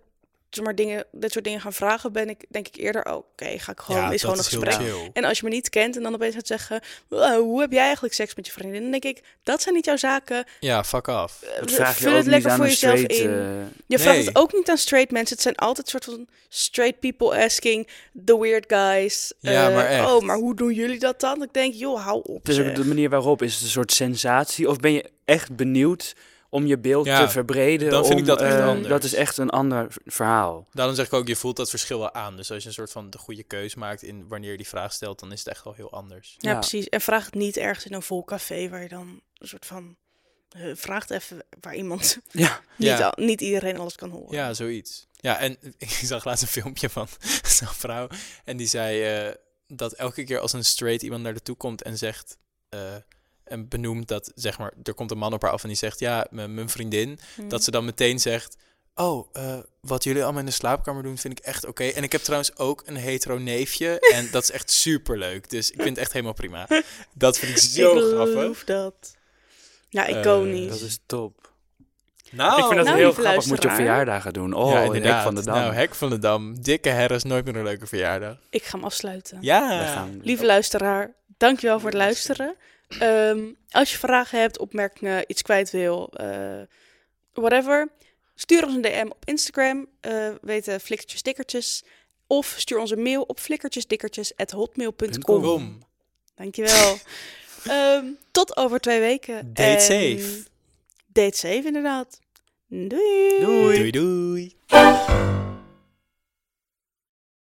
Speaker 2: zeg maar, dingen, dit soort dingen gaan vragen, ben ik denk ik eerder, oh, oké, ga ik gewoon, is gewoon een gesprek.
Speaker 1: chill.
Speaker 2: En als je me niet kent en dan opeens gaat zeggen, "Wow, hoe heb jij eigenlijk seks met je vriendin? Dan denk ik, dat zijn niet jouw zaken.
Speaker 1: Ja, fuck af.
Speaker 2: Eh,
Speaker 3: Dat
Speaker 2: we-
Speaker 3: vraag je
Speaker 2: Vul
Speaker 3: ook
Speaker 2: het
Speaker 3: niet
Speaker 2: lekker
Speaker 3: aan
Speaker 2: voor
Speaker 3: een
Speaker 2: jezelf
Speaker 3: straight...
Speaker 2: in.
Speaker 3: eh,
Speaker 2: Je vraagt
Speaker 1: Nee.
Speaker 2: het ook niet aan straight mensen. Het zijn altijd soort van straight people asking the weird guys.
Speaker 1: Ja,
Speaker 2: eh,
Speaker 1: maar echt.
Speaker 2: Oh, maar hoe doen jullie dat dan? Ik denk, joh, hou op.
Speaker 3: het is ook
Speaker 2: zeg.
Speaker 3: de manier waarop. Is het een soort sensatie? Of ben je echt benieuwd om je beeld
Speaker 1: Ja,
Speaker 3: te verbreden?
Speaker 1: dan vind ik
Speaker 3: om,
Speaker 1: dat echt
Speaker 3: eh,
Speaker 1: anders.
Speaker 3: Dat is echt een ander v- verhaal.
Speaker 1: Daarom zeg ik ook, je voelt dat verschil wel aan. Dus als je een soort van de goede keus maakt in wanneer je die vraag stelt, dan is het echt wel heel anders.
Speaker 2: Ja,
Speaker 3: Ja.
Speaker 2: precies. En vraag het niet ergens in een vol café waar je dan een soort van... eh, vraagt even waar iemand...
Speaker 3: Ja.
Speaker 1: Ja.
Speaker 2: Niet, al- niet iedereen alles kan horen.
Speaker 1: Ja, zoiets. Ja, en ik zag laatst een filmpje van zo'n vrouw. En die zei eh, dat elke keer als een straight iemand naar de toe komt en zegt. eh, en benoemt dat, zeg maar, er komt een man op haar af en die zegt: Ja, m- mijn vriendin.
Speaker 2: Hm.
Speaker 1: Dat ze dan meteen zegt: Oh, eh, wat jullie allemaal in de slaapkamer doen, vind ik echt oké. En ik heb trouwens ook een hetero neefje. En dat is echt super leuk. Dus ik vind het echt helemaal prima. Dat vind ik zo
Speaker 2: ik
Speaker 1: grappig.
Speaker 2: geloof dat. Ja, ik
Speaker 1: Eh,
Speaker 2: ook niet.
Speaker 3: Dat is top.
Speaker 1: Nou,
Speaker 3: ik vind dat
Speaker 2: nou,
Speaker 3: heel
Speaker 2: lieve
Speaker 3: grappig. Moet je op
Speaker 2: luisteraar.
Speaker 3: verjaardagen doen. Oh,
Speaker 1: ja,
Speaker 3: in de
Speaker 1: inderdaad.
Speaker 3: Hek van de Dam.
Speaker 1: Nou, Hek van de Dam. Dikke herres, nooit meer een leuke verjaardag.
Speaker 2: Ik ga hem afsluiten.
Speaker 1: Ja.
Speaker 3: We gaan-
Speaker 2: Lieve luisteraar, dankjewel voor het luisteren. Ehm, als je vragen hebt, opmerkingen, iets kwijt wil, eh, whatever, stuur ons een DM op Instagram, eh weten flikkertjes dikkertjes. Of stuur ons een mail op flikkertjesdikkertjes.hotmail.com.
Speaker 1: Kom.
Speaker 2: Dankjewel. Ehm tot over twee weken.
Speaker 1: Date
Speaker 2: En
Speaker 1: safe.
Speaker 2: Date safe, inderdaad. Doei.
Speaker 3: Doei.
Speaker 1: doei.